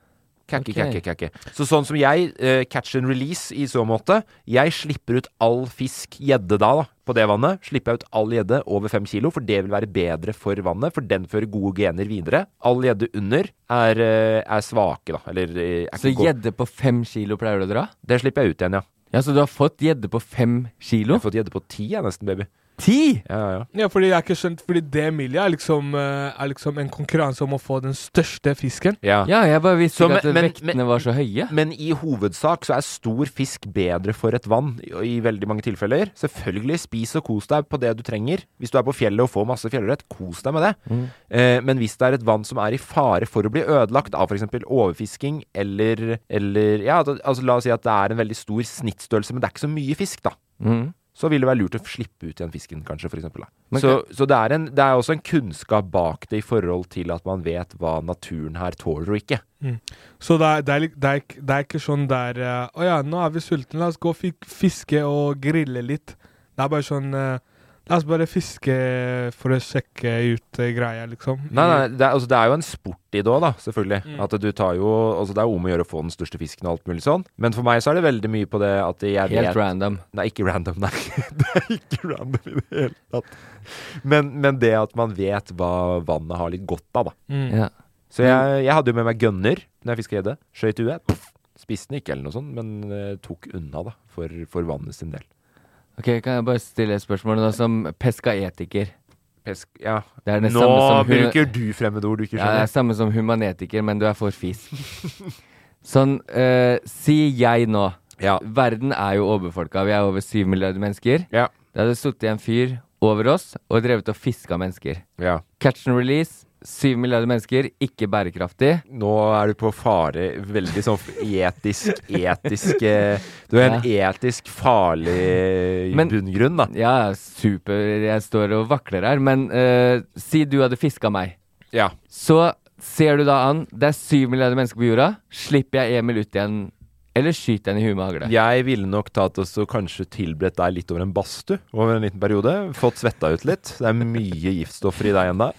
S4: Kakke,
S5: Ok.
S4: kakke, kakke. Så sånn som jeg, eh, catch and release i så måte, jeg slipper ut all fisk gjedde da, da, på det vannet. Slipper jeg ut all gjedde over fem kilo, for det vil være bedre for vannet, for den fører gode gener videre. All gjedde under er, eh, er svake, da, eller eh, er
S5: Så
S4: ikke god.
S5: gjedde på fem kilo pleier du å dra?
S4: Det slipper jeg ut igjen, ja.
S5: Ja, så du har fått gjedde på fem
S4: Jeg
S5: kilo?
S4: har fått gjedde på ti, jeg, nesten, baby.
S5: Ti?!
S4: Ja, ja, ja.
S3: Ja, fordi jeg har ikke skjønt Fordi det Emilia er liksom, eh, er liksom en konkurranse om å få den største fisken.
S4: ja.
S5: Ja, jeg bare visste
S4: Så,
S5: ikke at
S4: men- men-
S5: vektene
S4: men-
S5: var så høye.
S4: Men i hovedsak så er stor fisk bedre for et vann i, i veldig mange tilfeller. Selvfølgelig, spis og kos deg på det du trenger. Hvis du er på fjellet og får masse fjellørret, kos deg med det. Eh, men hvis det er et vann som er i fare for å bli ødelagt av f.eks. overfisking eller, eller Ja, da- altså la oss si at det er en veldig stor snittstørrelse, men det er ikke så mye fisk, da. Så vil det være lurt å slippe ut igjen fisken, kanskje, for eksempel, da.
S5: Men-
S4: Så, så det, er en, det er også en kunnskap bak det i forhold til at man vet hva naturen her tåler og ikke.
S3: Så det er, det, er, lik- det, er, ikke- det er ikke sånn der eh, Å ja, nå er vi sultne, la oss gå og fik- fiske og grille litt. Det er bare sånn eh, La oss bare fiske for å sjekke ut eh, greia, liksom.
S4: Nei, nei, det er, altså, det er jo en sport i det òg, da, selvfølgelig. At du tar jo Altså, det er jo om å gjøre å få den største fisken og alt mulig sånn. Men for meg så er det veldig mye på det at jeg
S5: Helt
S4: vet
S5: random.
S4: Nei, ikke random, nei. det er ikke random i det hele tatt. Men, men det at man vet hva vannet har litt godt av, da.
S3: Mm.
S5: Ja.
S4: Så jeg,
S5: Mm.
S4: jeg hadde jo med meg gunner når jeg fiska gjedde. Skøyt huet. Poff! Spiste den ikke eller noe sånt, men eh, tok unna, da. For, for vannet sin del.
S5: Ok, Kan jeg bare stille et spørsmål nå som peskaetiker?
S4: Pesk Ja.
S5: Det er det
S4: Nå
S5: samme som hun-
S4: bruker du fremmedord du ikke
S5: Ja, det er
S4: skjønner.
S5: samme som humanetiker, men du er for fisk. Sånn, eh, si jeg nå
S4: Ja.
S5: Verden er jo overbefolka. Vi er over syv milliarder mennesker.
S4: Ja.
S5: Det hadde sittet en fyr over oss og drevet og fiska mennesker.
S4: ja.
S5: Catch and release. Syv milliarder mennesker, ikke bærekraftig.
S4: Nå er du på fare Veldig sånn etisk Etisk eh, Du er en etisk farlig
S5: Men-
S4: bunngrunn da
S5: Ja, super, jeg står og vakler her, men eh, si du hadde fiska meg.
S4: Ja
S5: Så ser du da an, det er syv milliarder mennesker på jorda. Slipper jeg Emil ut igjen, eller skyter jeg han i huet med hagle?
S4: Jeg ville nok tatt oss og kanskje tilberedt deg litt over en bastu Over en liten periode Fått svetta ut litt Det er mye giftstoffer i deg ennå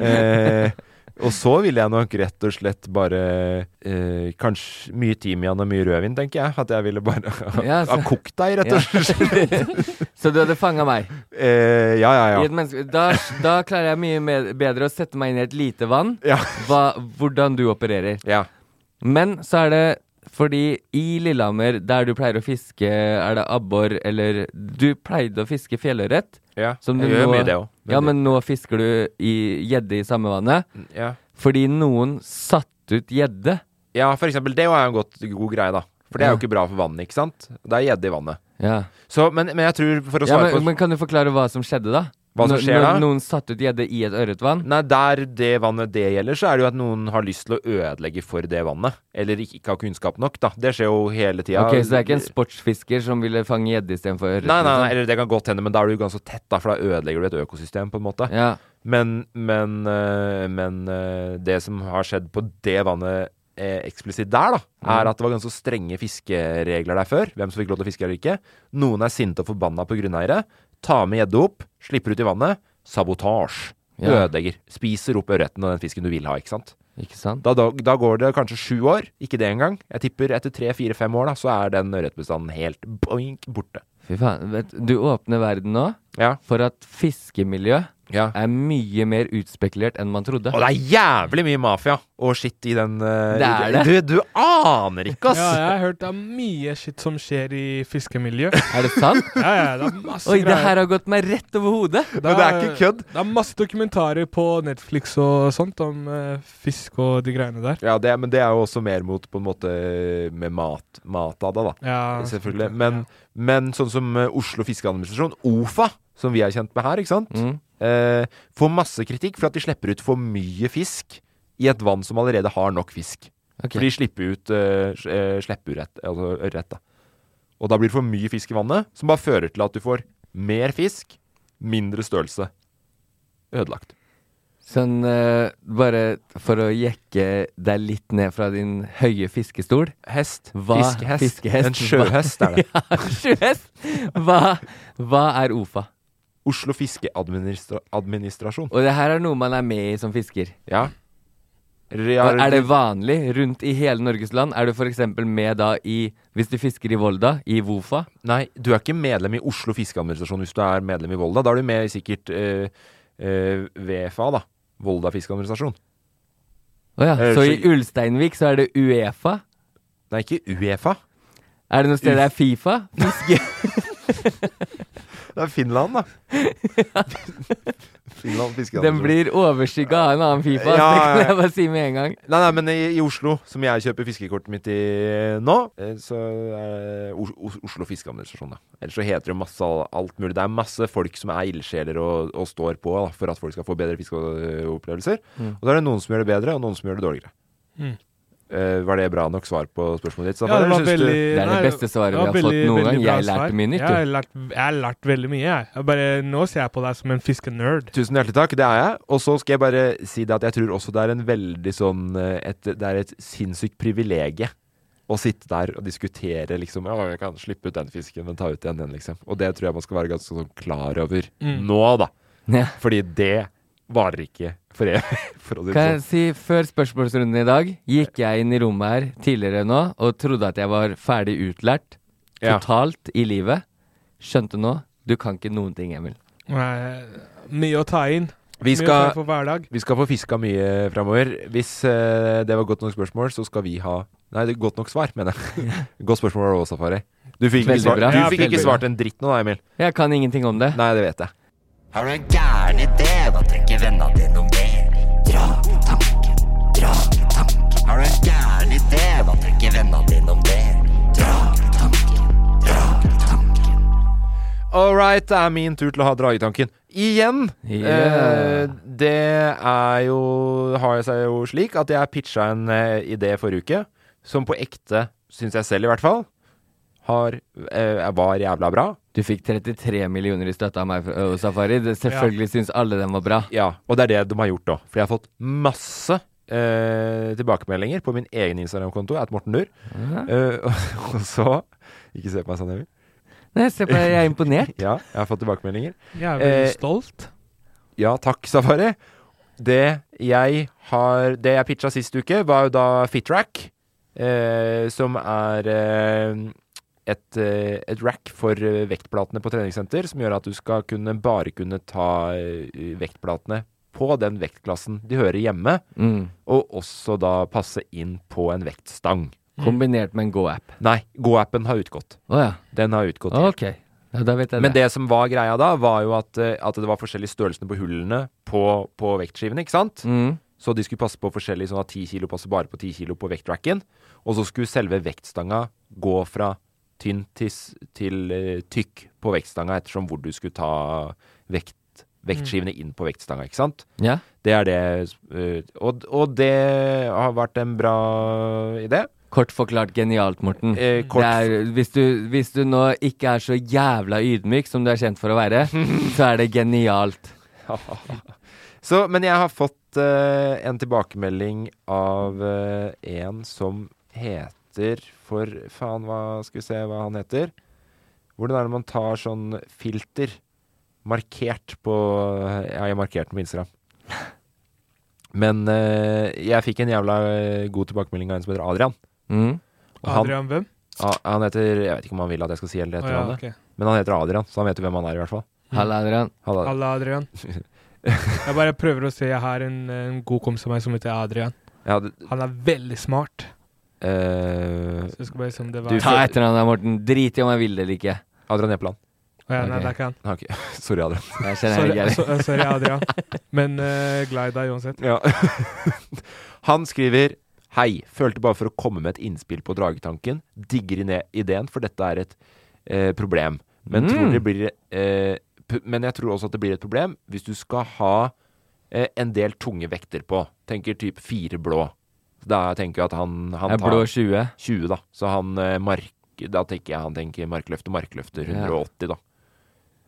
S4: eh, Og så ville jeg nok rett og slett bare eh, Kanskje mye timian og mye rødvin tenker jeg At jeg ville bare
S5: Ja,
S4: ha
S5: så-
S4: kokt deg rett og slett
S5: Så du hadde fanga meg?
S4: eh, Ja, ja,
S5: I
S4: ja
S5: et menneske, da, da klarer jeg mye med, bedre å sette meg inn i et lite vann,
S4: Ja.
S5: hva, hvordan du opererer.
S4: Ja
S5: Men så er det fordi i Lillehammer, der du pleier å fiske, er det abbor eller Du pleide å fiske fjellørret.
S4: Ja,
S5: som du
S4: jeg gjør
S5: nå-
S4: mye det også
S5: Ja, men nå fisker du i gjedde i samme vannet.
S4: Ja
S5: Fordi noen satte ut gjedde.
S4: Ja, for eksempel, det er jo en godt, god greie, da. For det er
S5: Ja.
S4: jo ikke bra for vannet, ikke sant? Det er gjedde i vannet.
S5: Ja.
S4: Så, men, men jeg tror, for å
S5: Ja,
S4: svare
S5: men,
S4: på
S5: men kan du forklare hva som skjedde, da?
S4: Hva som
S5: Når-
S4: skjer
S5: når
S4: da?
S5: Noen satte ut gjedde i et ørretvann?
S4: Nei, der det vannet det gjelder, så er det jo at noen har lyst til å ødelegge for det vannet. Eller ikke, ikke har kunnskap nok, da. Det skjer jo hele tida.
S5: Ok, Så det er ikke en sportsfisker som ville fange gjedde istedenfor ørret?
S4: Nei, nei, nei,
S5: liksom?
S4: eller det kan godt hende, men da er du ganske tett, da, for da ødelegger du et økosystem, på en måte.
S5: liksom? Ja.
S4: Men, men, øh, men øh, det som har skjedd på det vannet eh, eksplisitt der, da,
S5: Mm.
S4: er at det var ganske strenge fiskeregler der før. Hvem som fikk lov til å fiske eller ikke. Noen er sinte og forbanna på grunneiere. Tar med gjedde opp, slipper ut i vannet. Sabotasje.
S5: Ja.
S4: Ødelegger. Spiser opp ørreten og den fisken du vil ha, ikke sant.
S5: Ikke sant?
S4: Da, da, da går det kanskje sju år, ikke det engang. Jeg tipper etter tre-fire-fem år da, så er den ørretbestanden helt boink borte.
S5: Fy faen, vet, du åpner verden nå
S4: Ja.
S5: for at fiskemiljø
S4: ja.
S5: er mye mer utspekulert enn man trodde.
S4: Og det er jævlig mye mafia og shit i den eh,
S5: Det
S4: i-
S5: er det.
S4: Du, du aner ikke, ass!
S3: Ja, jeg har hørt det er mye shit som skjer i fiskemiljø.
S5: Er det sant?
S3: Ja, ja, det er masse
S5: Oi, det
S3: greier.
S5: her har gått meg rett over hodet!
S4: Men det er ikke kødd.
S3: Det er masse dokumentarer på Netflix og sånt om eh, fisk og de greiene der.
S4: Ja, det, men det er jo også mer mot på en måte med mat, mat av det, da.
S3: Ja,
S4: Selvfølgelig. Men, men sånn som eh, Oslo Fiskeadministrasjon, OFA, som vi er kjent med her, ikke sant? Eh, får masse kritikk for at de slipper ut for mye fisk i et vann som allerede har nok fisk.
S5: Ok.
S4: For de slipper ut eh, s- eh, sleppeørret, altså ørret, da. Og da blir det for mye fisk i vannet, som bare fører til at du får mer fisk, mindre størrelse. Ødelagt.
S5: Sånn eh, bare for å jekke deg litt ned fra din høye fiskestol.
S4: Hest.
S5: Hva?
S4: Fiskehest.
S5: Fiskehest.
S4: En sjøhest er det.
S5: Sjøhest! Hva, hva er OFA?
S4: Oslo Fiskeadministrasjon.
S5: Og det her er noe man er med i som fisker.
S4: Ja.
S5: Og er det vanlig rundt i hele Norges land? Er du f.eks. med da i Hvis du fisker i Volda, i Vofa?
S4: Nei, du er ikke medlem i Oslo Fiskeadministrasjon hvis du er medlem i Volda. Da er du med i sikkert eh, eh, VFA, da. Volda Fiskeadministrasjon.
S5: Å ja.
S4: Eh,
S5: Så i
S4: så-
S5: Ulsteinvik så er det Uefa?
S4: Nei, ikke E Uefa.
S5: Er det noe sted det er Fifa? Fiske?
S4: Det er Finland, da. Finland fiskehandelsrom.
S5: Den blir overskygga av en annen Fifa.
S4: Ja,
S5: Det
S4: ja,
S5: kan
S4: ja.
S5: jeg bare si med en gang.
S4: Nei, nei, men i, i Oslo, som jeg kjøper fiskekortet mitt i nå, eh, så er det Os- Os- Oslo Fiskeadministrasjon, da. Ellers så heter det masse all- alt mulig. Det er masse folk som er ildsjeler og, og står på da, for at folk skal få bedre fiskeopplevelser.
S3: Mm.
S4: Og så er det noen som gjør det bedre, og noen som gjør det dårligere. Eh, var det bra nok svar på spørsmålet ditt? Staffan,
S3: Ja, det
S4: eller
S3: var
S4: synes du-
S3: veldig
S5: Det er det
S3: nei,
S5: beste svaret
S3: det
S5: vi
S3: var
S5: har fått
S3: veldig-
S5: noen gang.
S3: veldig bra
S5: Jeg lærte
S3: svar.
S5: mye nytt,
S3: Jeg har
S5: jo.
S3: lært, jeg har lært veldig mye, jeg. jeg bare, nå ser jeg på deg som en fiskenerd.
S4: Tusen hjertelig takk, det er jeg. Og så skal jeg bare si det at jeg tror også det er en veldig sånn eh, et, Det er et sinnssykt privilegie å sitte der og diskutere liksom Ja, jeg kan slippe ut den fisken, men ta ut igjen den, liksom. Og det tror jeg man skal være ganske sånn klar over
S5: Mm.
S4: nå, da.
S5: Ja.
S4: Fordi det varer ikke for evig, for å si det
S5: Kan jeg
S4: sånn.
S5: si, Før spørsmålsrunden i dag gikk jeg inn i rommet her tidligere nå og trodde at jeg var ferdig utlært
S4: Ja.
S5: totalt i livet. Skjønte nå du kan ikke noen ting, Emil.
S3: Nei, Mye å ta inn.
S4: Vi
S3: Mye å ta
S4: skal,
S3: inn for hver dag.
S4: vi skal få fiska mye framover. Hvis eh, det var godt nok spørsmål, så skal vi ha Nei, det er godt nok svar, mener jeg. godt spørsmål var det også, Safari. Du fikk ikke,
S5: Veldig
S4: svar,
S5: bra.
S4: du
S3: Ja,
S4: fikk ikke
S5: veldig bra.
S4: svart en dritt nå, da, Emil.
S5: Jeg kan ingenting om det.
S4: Nei, det vet jeg.
S8: Har du en gæren idé? Hva tenker vennene dine om det? Dra i tanken, dra i tanken. Har du en gæren idé? Hva tenker vennene dine om det? Dra i tanken, dra i tanken.
S4: All right, det er min tur til å ha dragetanken. Igjen!
S5: Yeah.
S4: Eh, det er jo har seg jo slik at jeg pitcha en eh, idé forrige uke som på ekte, syns jeg selv i hvert fall, har, eh, var jævla bra.
S5: Du fikk 33 millioner i støtte av meg fra Ø- Safari. Det- Selvfølgelig syns alle den var bra.
S4: Ja, og det er det de har gjort da. For jeg har fått masse eh, tilbakemeldinger på min egen Instagram-konto, at Morten Dur. Eh, og, og så Ikke se på meg sånn, Emil.
S5: Nei, se på deg, jeg er imponert.
S4: Ja, jeg har fått tilbakemeldinger.
S3: Jeg er veldig
S4: Eh,
S3: stolt.
S4: Ja takk, Safari. Det jeg har Det jeg pitcha sist uke, var jo da Fitrack. Eh, som er eh, et, eh, et rack for eh, vektplatene på treningssenter, som gjør at du skal kunne bare kunne ta eh, vektplatene på den vektklassen de hører hjemme,
S5: Mm.
S4: og også da passe inn på en vektstang.
S5: Kombinert med en go-app.
S4: Nei, Go-appen har utgått.
S5: Å ja.
S4: Den har utgått.
S5: Ok. Ja, da vet jeg
S4: Men
S5: det.
S4: det som var greia da, var jo at, eh, at det var forskjellige størrelsene på hullene på, på vektskivene, ikke sant?
S5: Mm.
S4: Så de skulle passe på forskjellig, sånn at 10 kilo passer bare på 10 kilo på vektracken. Og så skulle selve vektstanga gå fra tynn til, s- til eh, tykk på vektstanga, ettersom hvor du skulle ta vekt, vektskivene inn på vektstanga, ikke sant?
S5: Ja.
S4: Det er det eh, og, og det har vært en bra idé.
S5: Kort forklart genialt, Morten.
S4: Eh, kort-
S5: Det er, hvis, du, hvis du nå ikke er så jævla ydmyk som du er kjent for å være, så er det genialt.
S4: Så, men jeg har fått eh, en tilbakemelding av eh, en som heter For faen, hva skal vi se hva han heter? Hvordan er det man tar sånn filter markert på Ja, jeg markerte den på Instagram. Men eh, jeg fikk en jævla eh, god tilbakemelding av en som heter Adrian.
S5: Mm.
S4: Og han,
S3: Adrian, hvem?
S4: ah, han heter Jeg vet ikke om han vil at jeg skal si hele
S3: Å,
S4: det
S3: ja,
S4: etternavnet,
S3: ok.
S4: men han heter Adrian, så han vet jo hvem han er, i hvert fall.
S5: Halla, Adrian.
S4: Halla.
S3: Halla, Adrian. Jeg bare prøver å se. Jeg har en, en god kompis av meg som heter Adrian.
S4: Ja, det,
S3: Han er veldig smart.
S4: eh,
S3: Så jeg skal bare se om det var
S4: Du
S5: Ta
S4: får-
S5: etter han der, Morten. Drit i om jeg vil det eller ikke.
S4: Adrian Epland.
S3: Å, ja, Nei,
S5: ok.
S3: det er ikke han.
S4: Ah, ok. Sorry, altså- Adrian.
S5: Jeg kjenner jeg
S3: Sorry,
S5: ikke er det.
S3: so, eh, sorry Adrian. Men eh, glad i deg uansett.
S4: Ja. Han skriver Hei, følte bare for å komme med et innspill på dragetanken. Digger ine- ideen, for dette er et eh, problem. Men, tror
S5: Mm.
S4: det blir, eh, p men jeg tror også at det blir et problem hvis du skal ha eh, en del tunge vekter på. Tenker typ fire blå. Da tenker jeg at han, han
S5: Jeg er
S4: tar
S5: blå 20.
S4: 20, da. Så han eh, mark... Da tenker jeg han tenker markløfter, markløfter.
S5: Ja.
S4: 180, da.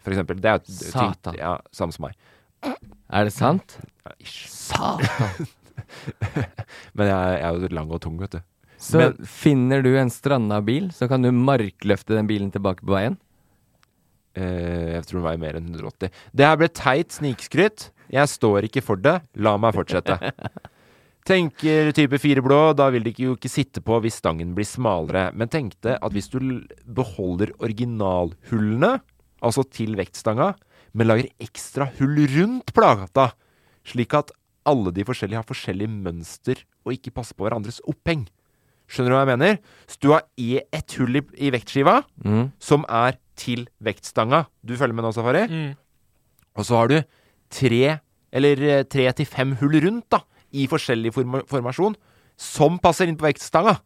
S4: For eksempel. Det er jo et-
S5: Satan.
S4: Ja, samme som meg.
S5: Er det sant?
S4: Ja, ish.
S5: Satan.
S4: Men jeg, jeg er jo lang og tung, vet du.
S5: Så
S4: Men-
S5: finner du en stranda bil, så kan du markløfte den bilen tilbake på veien.
S4: Eh, jeg tror den veier mer enn 180. Det her ble teit snikskryt. Jeg står ikke for det. La meg fortsette. Tenker type fire blå, da vil de ikke- jo ikke sitte på hvis stangen blir smalere. Men tenkte at hvis du l- beholder originalhullene, altså til vektstanga, men lager ekstra hull rundt plata, slik at alle de forskjellige har forskjellig mønster og ikke passer på hverandres E oppheng. Skjønner du hva jeg mener? Hvis du har i- ett hull i, i vektskiva, som er til vektstanga. Du følger med nå, Safari? Og så har du tre eller eh, tre til fem hull rundt, da, i forskjellig forma formasjon, som passer inn på vektstanga.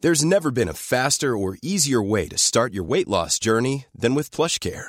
S9: There's never been a faster or easier way to start your weight loss journey than with PlushCare.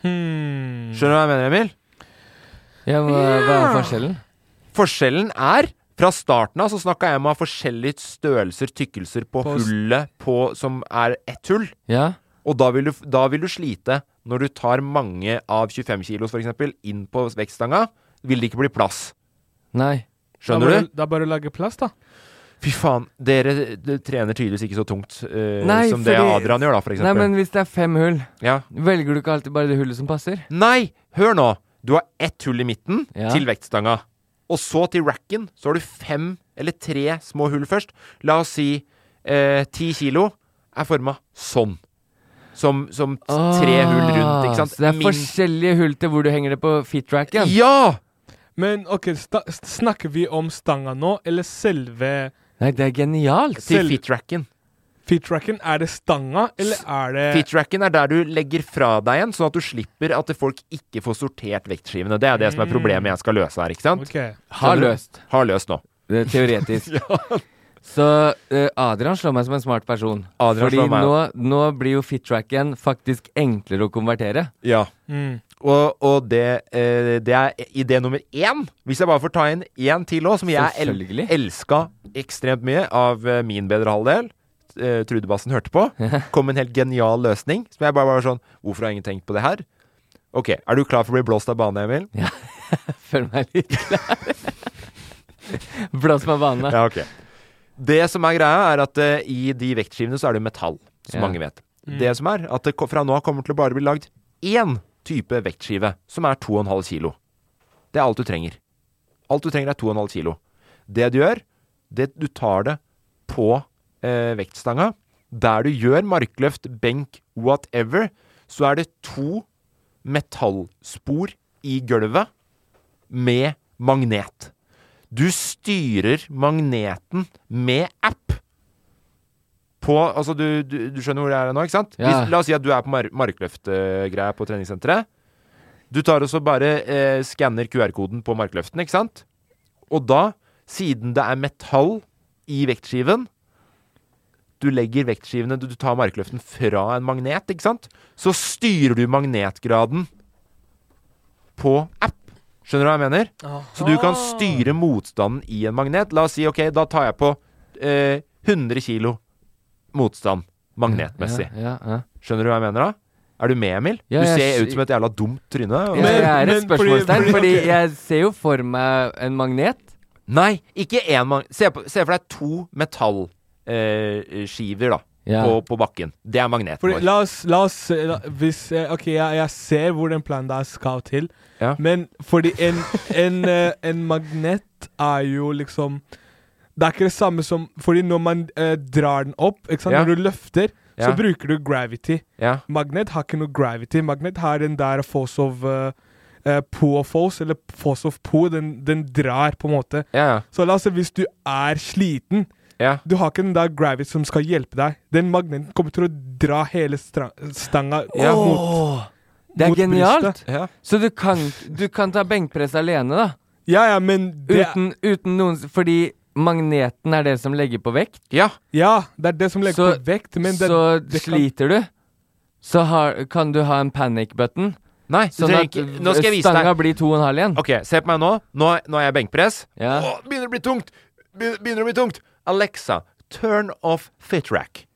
S4: Skjønner du hva jeg mener, Emil?
S5: Ja, hva, hva er forskjellen?
S4: Forskjellen er fra starten av så snakka jeg om å ha forskjellige størrelser, tykkelser, på,
S3: På s-
S4: hullet på, som er ett hull.
S5: Ja?
S4: Og da vil, du, da vil du slite når du tar mange av 25 kilos for eksempel, inn på vektstanga. Vil det ikke bli plass.
S5: Nei.
S4: Skjønner
S3: da
S4: du?
S3: bare, Da bare å lage plass, da.
S4: Fy faen, dere d- trener tydeligvis ikke så tungt eh,
S5: Nei,
S4: som det
S5: fordi-
S4: Adrian gjør, da, for
S5: Nei,
S4: eksempel.
S5: men hvis det er fem hull,
S4: ja.
S5: velger du ikke alltid bare det hullet som passer?
S4: Nei, hør nå. Du har ett hull i midten
S5: Ja.
S4: til vektstanga. Og så til racken. Så har du fem eller tre små hull først. La oss si eh, ti kilo er forma sånn. Som, som t- tre hull rundt, ikke sant?
S5: Ah, Så det er
S4: Min-
S5: forskjellige hull til hvor du henger det på fitracken?
S4: Ja!
S3: Men OK, sta s- snakker vi om stanga nå, eller selve
S5: Nei, det er genialt!
S4: Til
S3: Selv-
S4: fitracken.
S3: fitracken? Er det stanga, eller er
S5: Eh.
S3: det
S4: Fitracken er der du legger fra deg en, sånn at du slipper at folk ikke får sortert vektskivene. Det er det
S5: Mm.
S4: som er problemet jeg skal løse her, ikke sant?
S3: OK.
S5: Har løst.
S4: Har løst nå.
S5: Det er teoretisk. Så eh, Adrian slår meg som en smart person.
S4: Adrian
S5: Fordi
S4: slår meg
S5: nå, nå blir jo fittracken faktisk enklere å konvertere.
S4: Ja.
S3: Mm.
S4: Og, og det, eh, det er idé nummer én. Hvis jeg bare får ta inn én til òg, som jeg el
S5: Selvfølgelig.
S4: elska ekstremt mye av eh, min bedre halvdel. Eh, Trude Bassen hørte på. Kom med en helt genial løsning. Som jeg bare var sånn Hvorfor har ingen tenkt på det her? Ok, Er du klar for å bli blåst av bane, Emil?
S5: Føler meg litt klar. Blås meg vanene.
S4: Ja, ok. Det som er greia, er at eh, i de vektskivene så er det jo metall, som
S5: Ja.
S4: mange vet. Det som er, at det ko- fra nå av kommer til å bare bli lagd én type vektskive, som er 2,5 kilo. Det er alt du trenger. Alt du trenger er 2,5 kilo. Det du gjør, det du tar det på eh, vektstanga. Der du gjør markløft, benk, whatever, så er det to metallspor i gulvet med magnet. Du styrer magneten med app. På, altså du, du, du skjønner hvor jeg er nå, ikke sant?
S5: Ja.
S4: Hvis, la oss si at du er på mar markløftgreia på treningssenteret. Du tar også bare eh, skanner QR-koden på markløften, ikke sant? Og da, siden det er metall i vektskiven Du legger vektskivene Du du tar markløften fra en magnet, ikke sant? Så styrer du magnetgraden på app. Skjønner du hva jeg mener? Så du kan styre motstanden i en magnet. La oss si ok, da tar jeg på eh, 100 kilo motstand magnetmessig.
S5: Ja, ja, ja.
S4: Skjønner du hva jeg mener da? Er du med, Emil?
S5: Ja,
S4: du
S5: jeg
S4: ser
S5: sk-
S4: ut som et jævla dumt tryne. og-
S5: Jeg, jeg er et spørsmålstegn, fordi jeg ser jo for meg en magnet.
S4: Nei, ikke én magnet. Se, på- se for deg to metallskiver, skiver da.
S5: Ja.
S4: På, på bakken. Det er magneten
S3: Fordi,
S4: vår.
S3: la oss, la oss eh, la, hvis, eh, Ok, jeg, jeg ser hvor den planen der skal til,
S4: Ja.
S3: men fordi en, en, eh, en magnet er jo liksom Det er ikke det samme som Fordi når man eh, drar den opp, ikke sant?
S4: Ja.
S3: når du løfter,
S4: Ja.
S3: så bruker du gravity.
S4: Ja.
S3: Magnet har ikke noe gravity. Magnet har den der force of eh, eh, Pull force, eller force of pull, den, den drar, på en måte.
S4: Ja.
S3: Så la oss si hvis du er sliten
S4: Ja.
S3: Du har ikke den der gravity som skal hjelpe deg. Den magneten kommer til å dra hele stra- stanga
S5: Ja.
S3: mot
S5: Det er
S3: mot
S5: genialt!
S3: brystet. Ja.
S5: Så du kan, du kan ta benkpress alene, da.
S3: Ja, ja, men det-
S5: uten, uten noen Fordi magneten er det som legger på vekt?
S4: Ja.
S3: det er det som legger
S5: så,
S3: på vekt, men det-
S5: Så
S3: det kan-
S5: sliter du, så har, kan du ha en panic button.
S4: Nei, du
S5: sånn
S4: trenger
S5: at
S4: ikke- nå skal jeg vise deg.
S5: stanga blir to og en halv igjen.
S4: Ok, se på meg nå. Nå, nå er jeg benkpress.
S5: Ja.
S4: Åh, begynner å bli tungt! Be- Begynner å bli tungt! Alexa, turn off fit rack.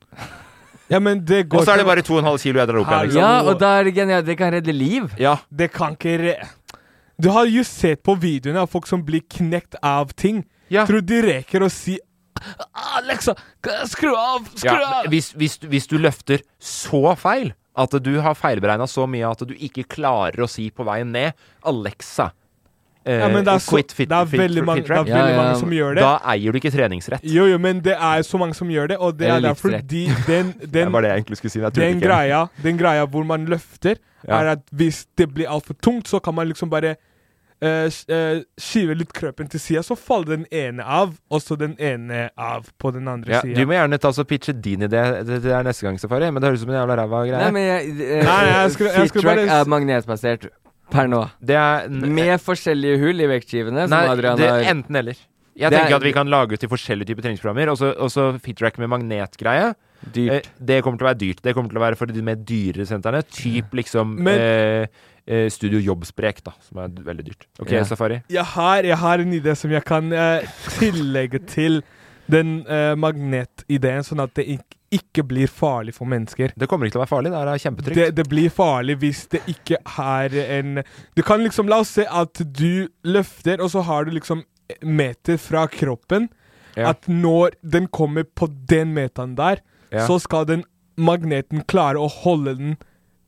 S3: Ja, men det går
S4: Og så er det
S3: ikke-
S4: bare 2,5 kilo jeg drar opp igjen. liksom.
S5: Ja, og da er det genialt. Det kan redde liv.
S4: Ja.
S3: Det kan ikke re... Du har jo sett på videoene av folk som blir knekt av ting. Tror du de reker å si Alexa, skru av! Skru
S4: Ja,
S3: av!
S4: hvis, hvis, du- hvis du løfter så feil at du har feilberegna så mye at du ikke klarer å si på veien ned Alexa eh,
S3: Ja, men det er så-
S4: quit fit,
S3: det er
S4: fit-
S3: veldig mange-
S4: fit rap.
S3: det er veldig Ja, ja. mange som gjør det.
S4: Da eier du ikke treningsrett.
S3: Jo, jo, men det er så mange som gjør det, og det
S4: Eller
S3: er derfor
S4: livsrett.
S3: de, den,
S4: Det
S3: den,
S4: var det jeg egentlig skulle si. men Jeg turte
S3: den,
S4: ikke.
S3: greia, den greia hvor man løfter,
S4: Ja.
S3: er at hvis det blir altfor tungt, så kan man liksom bare eh, sk- eh, skyve litt kroppen til sida, så faller den ene av, og så den ene av på den andre
S4: ja,
S3: siden
S4: du
S3: sida.
S4: må gjerne ta så pitche din idé til til deg neste gang, Safari, men det høres ut som en jævla ræva greie.
S5: Nei, men jeg, eh,
S3: Nei, nei, jeg skulle- jeg skulle
S5: Fit-track
S3: bare-
S5: er magnetbasert per nå.
S4: Det er
S5: Med forskjellige hull i vektskivene,
S4: Nei,
S5: som Adrian
S4: det,
S5: har.
S4: enten eller. Jeg
S5: Det
S4: tenker
S5: er-
S4: at vi kan lage ut til forskjellige typer treningsprogrammer. Og så- Og så fitrack med magnetgreie.
S5: Dyrt.
S4: Eh, det kommer til å være dyrt. Det kommer til å være for de mer dyrere sentrene. Typ liksom
S3: Men-
S4: eh, eh, Studio Jobbsprek, da, som er d- veldig dyrt. OK,
S3: Ja.
S4: Safari.
S3: Jeg har, jeg har en idé som jeg kan eh, tillegge til den eh, magnetideen, sånn at det ikke, ikke blir farlig for mennesker.
S4: Det kommer ikke til å være farlig. Det her er kjempetrygt.
S3: Det, det blir farlig hvis det ikke er en Du kan liksom La oss se at du løfter, og så har du liksom meter fra kroppen.
S4: Ja.
S3: At når den kommer på den meteren der,
S4: Ja.
S3: så skal den magneten klare å holde den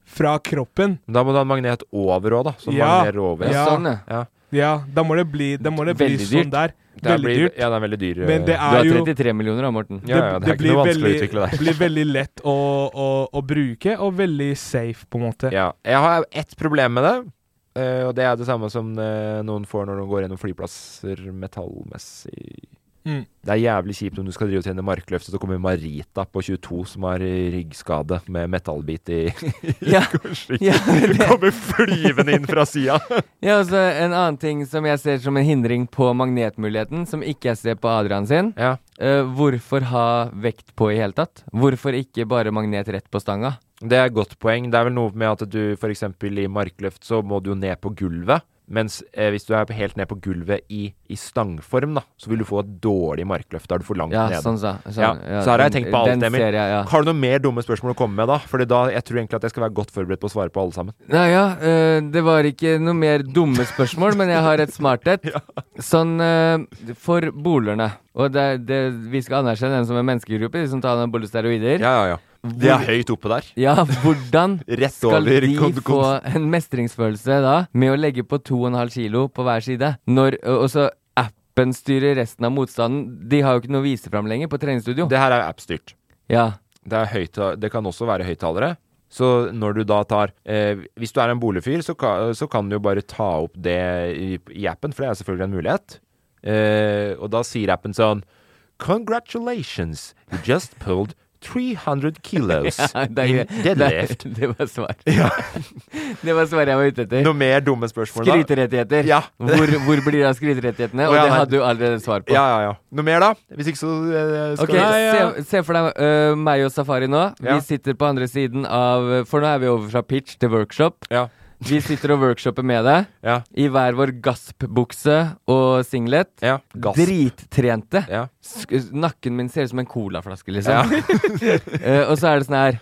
S3: fra kroppen.
S4: Men Da må du ha en magnet over òg, da. Som
S3: Ja.
S4: magnerer over.
S3: Ja. Ja, sånn,
S4: eh, ja.
S3: Ja, da må det bli, da må det bli
S5: Veldig dyrt.
S3: sånn der.
S4: Det her
S3: Veldig
S4: blir,
S3: dyrt.
S4: ja, det er veldig dyr.
S3: Men det
S4: eh,
S3: er
S5: du
S3: jo
S5: har 33 millioner da, Morten.
S4: Ja, ja, det er ikke
S3: blir
S4: noe vanskelig å
S3: veldig-
S4: utvikle det.
S3: blir veldig lett å, å, å bruke, og veldig safe, på en måte.
S4: Ja. Jeg har ett problem med det. eh, og det er det samme som eh, noen får når de går gjennom flyplasser metallmessig.
S3: Mm.
S4: Det er jævlig kjipt om du skal drive og trene markløft, og så kommer Marita på 22 som har ryggskade med metallbit i
S5: Ja.
S4: korsryggen.
S5: Ja, det-
S4: Kommer flyvende inn fra sida.
S5: Ja, og så En annen ting som jeg ser som en hindring på magnetmuligheten, som ikke jeg ser på Adrian sin. Eh, hvorfor ha vekt på i hele tatt? Hvorfor ikke bare magnet rett på stanga?
S4: Det er et godt poeng. Det er vel noe med at du f.eks. i markløft så må du jo ned på gulvet. Mens eh, hvis du er helt ned på gulvet i, i stangform, da, så vil du få et dårlig markløft. Da er du for langt
S5: Ja,
S4: nede.
S5: sånn sa- sånn,
S4: ja.
S5: ja,
S4: Så her har jeg
S5: den-
S4: tenkt på alt,
S5: den
S4: Emil.
S5: ser jeg, ja.
S4: Har du noen mer dumme spørsmål å komme med da? Fordi da, jeg tror egentlig at jeg skal være godt forberedt på å svare på alle sammen.
S5: Nei, ja, eh, det var ikke noe mer dumme spørsmål, men jeg har et smarthet. Sånn eh, for bolerne Og det, er- det, vi skal anerkjenne den som en menneskegruppe, de som tar anabole steroider.
S4: Ja, ja, ja. De er høyt oppe der.
S5: Ja, hvordan
S4: Rett
S5: skal
S4: over
S5: de
S4: kon- kon-
S5: få en mestringsfølelse da med å legge på 2,5 kilo på hver side? Når, og og så appen styrer resten av motstanden. De har jo ikke noe å vise fram lenger på treningsstudio.
S4: Det her er jo app-styrt.
S5: Ja.
S4: Det, er høyta- det kan også være høyttalere. Så når du da tar eh, Hvis du er en boligfyr, så kan, så kan du jo bare ta opp det i, i appen, for det er selvfølgelig en mulighet. Eh, og da sier appen sånn Congratulations, you just pulled 300 kilos
S5: Ja, det er
S4: in
S5: gre-
S4: deadlift.
S5: Det, det var svar. det var svaret jeg var ute etter.
S4: Noe mer dumme spørsmål da?
S5: Skryterettigheter.
S4: Ja.
S5: Hvor, hvor blir det av skryterettighetene?
S4: Å,
S5: Og
S4: ja,
S5: det
S4: nei.
S5: hadde du allerede svar på.
S4: Ja, ja, ja. Noe mer, da? Hvis ikke, så eh, skal
S5: Ok,
S4: vi-
S5: Se, se for deg øh, meg og Safari nå.
S4: Ja.
S5: Vi sitter på andre siden av For nå er vi over fra pitch til workshop. Vi sitter og workshopper med deg i hver vår gaspbukse og singlet.
S4: gasp.
S5: Drittrente.
S4: Ja.
S5: Sk nakken min ser ut som en colaflaske, liksom. Eh, og så er det sånn her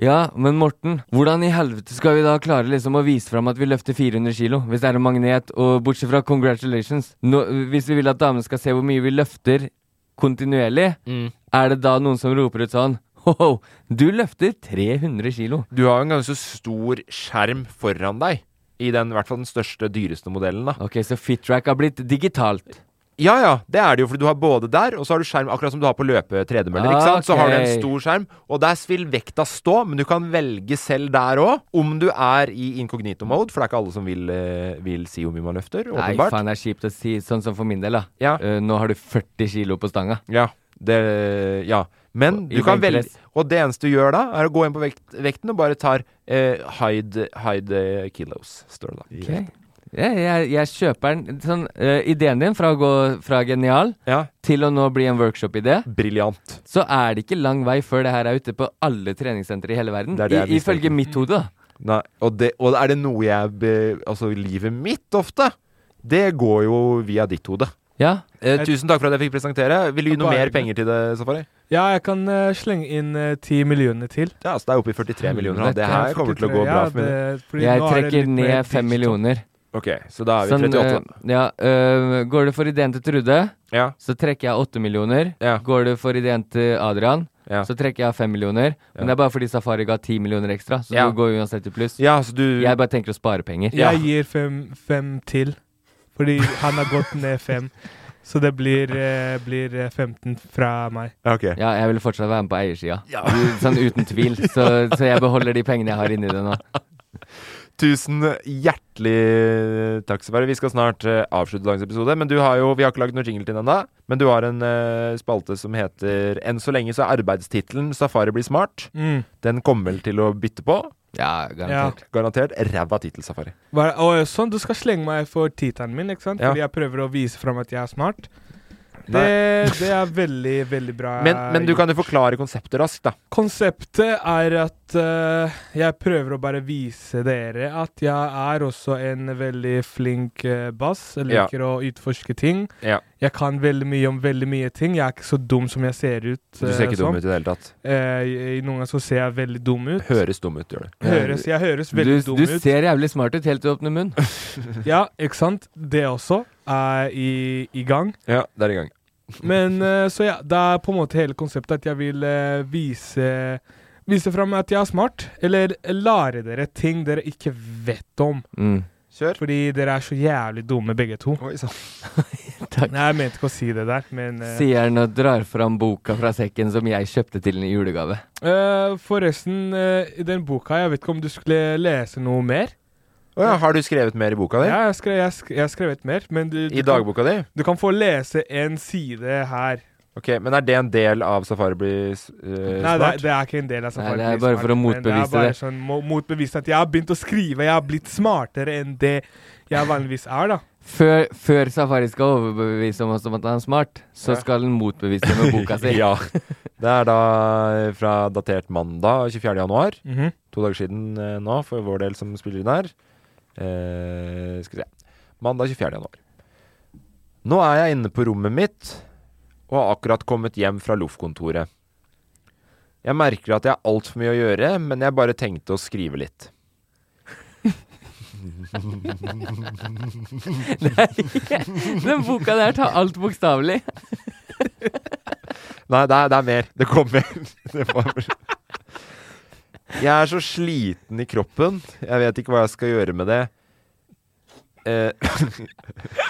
S5: Ja, men Morten, hvordan i helvete skal vi da klare liksom å vise fram at vi løfter 400 kilo, hvis det er en magnet, og bortsett fra congratulations nå, Hvis vi vil at damene skal se hvor mye vi løfter kontinuerlig,
S4: Mm.
S5: er det da noen som roper ut sånn Ho-ho, du løfter 300 kilo.
S4: Du har jo en ganske stor skjerm foran deg. I den, i hvert fall den største, dyreste modellen. da
S5: Ok, Så FitTrack har blitt digitalt?
S4: Ja ja, det er det jo, for du har både der, og så har du skjerm akkurat som du har på løpetredemøller. ikke sant? Så har du en
S5: Ah, Ok.
S4: stor skjerm, og der vil vekta stå, men du kan velge selv der òg, om du er i incognito mode, for det er ikke alle som vil, eh, vil si hvor mye man løfter,
S5: Nei,
S4: åpenbart.
S5: faen, det er kjipt å si. Sånn som for min del, da.
S4: Ja.
S5: Eh, nå har du 40 kilo på stanga.
S4: Ja, det, ja. Men
S5: i
S4: du kan velge
S5: benkpress.
S4: Og det eneste du gjør da, er å gå inn på vekt, vekten og bare tar eh, hide, hide eh, kilos, står det da.
S5: Ok. Jeg, jeg, jeg kjøper den sånn, eh, Ideen din fra å gå fra genial til å nå bli en workshop-idé
S4: Briljant.
S5: Så er det ikke lang vei før det her er ute på alle treningssentre i hele verden.
S4: Det er det jeg
S5: I,
S4: mistenker.
S5: ifølge mitt hode, da.
S4: Nei, og, det, og er det noe jeg be, Altså, livet mitt ofte, det går jo via ditt hode.
S5: Ja.
S4: Eh, tusen takk for at jeg fikk presentere. Vil du gi noe mer penger til det, Safari?
S3: Ja, jeg kan eh, slenge inn ti millioner til.
S4: Ja, så det er oppe i 43 millioner. da. Mm, Det
S3: Helvete,
S4: her kommer til å gå
S3: 43,
S4: bra
S3: ja,
S4: for min
S3: det- fordi nå
S5: Jeg
S3: er det litt
S5: trekker
S3: mer
S5: ned
S3: digital.
S5: fem millioner.
S4: Ok, så da er vi 38.
S5: eh, ja, eh, går det for ideen til Trude,
S4: Ja.
S5: så trekker jeg åtte millioner. Går det for ideen til Adrian, så trekker jeg fem millioner. Men det er bare fordi Safari ga ti millioner ekstra, så
S3: Ja.
S5: du går uansett i pluss.
S4: Ja, så du...
S5: Jeg bare tenker å spare penger.
S3: Jeg gir fem, fem til, fordi han har gått ned fem. Så det blir, eh, blir eh, 15 fra meg.
S5: Ja, jeg vil fortsatt være med på eiersida. Sånn uten tvil. Så, så jeg beholder de pengene jeg har inni det nå.
S4: Tusen hjertelig takk, Sverre. Vi skal snart eh, avslutte dagens episode. Men du har jo, vi har ikke lagd noen jingle til den ennå. Men du har en eh, spalte som heter Enn så lenge så er arbeidstittelen 'Safari blir smart'.
S3: Mm.
S4: Den kommer vel til å bytte på.
S5: Ja,
S3: garantert.
S4: Garantert ræva tittel, Safari.
S3: Hva- og sånn, du skal slenge meg for titeren min, ikke sant?
S4: Ja.
S3: Fordi jeg prøver å vise fram at jeg er smart.
S4: Nei.
S3: Det, det er veldig, veldig bra.
S4: Men, men du kan jo forklare konseptet raskt, da.
S3: Konseptet er at eh, jeg prøver å bare vise dere at jeg er også en veldig flink eh, bass. Jeg
S4: Ja.
S3: liker å utforske ting.
S4: Ja.
S3: Jeg kan veldig mye om veldig mye ting. Jeg er ikke så dum som jeg ser ut.
S4: Du ser
S3: eh,
S4: ikke dum
S3: som.
S4: ut i det hele tatt.
S3: Eh, i- i noen ganger så ser jeg veldig dum ut.
S4: Høres dum ut, gjør du.
S3: Høres, jeg høres veldig
S5: du,
S3: dum
S5: Du
S3: ut.
S5: ser jævlig smart ut helt til du åpner munn.
S3: Ja, ikke sant? Det også er i, i gang.
S4: Ja, det er i gang.
S3: Men eh, så ja, det er på en måte hele konseptet at jeg vil eh, vise Vise fram at jeg er smart, eller lære dere ting dere ikke vet om.
S5: Mm.
S4: Kjør.
S3: Fordi dere er så jævlig dumme begge to.
S4: Oi, sånn.
S3: Nei, jeg mente ikke å si det der, men eh,
S5: Sier han og drar fram boka fra sekken som jeg kjøpte til henne i julegave.
S3: eh, Forresten, eh, i den boka, jeg vet ikke om du skulle lese noe mer?
S4: Å ja, har du skrevet mer i boka di?
S3: Ja, jeg, skrev, jeg, sk- jeg har skrevet mer, men du, du
S4: I dagboka di?
S3: Kan, du kan få lese en side her.
S4: Ok, Men er det en del av Safari blir s- eh,
S3: Nei, det,
S4: smart?
S3: er- det er ikke en del av
S5: Nei,
S3: safari.
S5: det er bare for å
S3: men Det
S5: motbevise
S3: er bare
S5: det.
S3: sånn mo- motbevise at jeg har begynt å skrive, jeg har blitt smartere enn det jeg vanligvis er, da.
S5: Før, før Safari skal overbevise om oss om at han er smart, så
S4: Ja.
S5: skal han motbevise det med boka si.
S4: ja. Det er da eh, fra datert mandag 24. januar.
S3: Mhm.
S4: To dager siden eh, nå, for vår del som spiller inn her. Eh, skal vi se. Mandag 24. januar. Nå er jeg inne på rommet mitt og har akkurat kommet hjem fra loffkontoret. Jeg merker at jeg har altfor mye å gjøre, men jeg bare tenkte å skrive litt.
S5: Den boka der tar alt bokstavelig.
S4: Nei, det er, det er mer. Det kommer. Det kommer. Jeg er så sliten i kroppen. Jeg vet ikke hva jeg skal gjøre med det. Eh,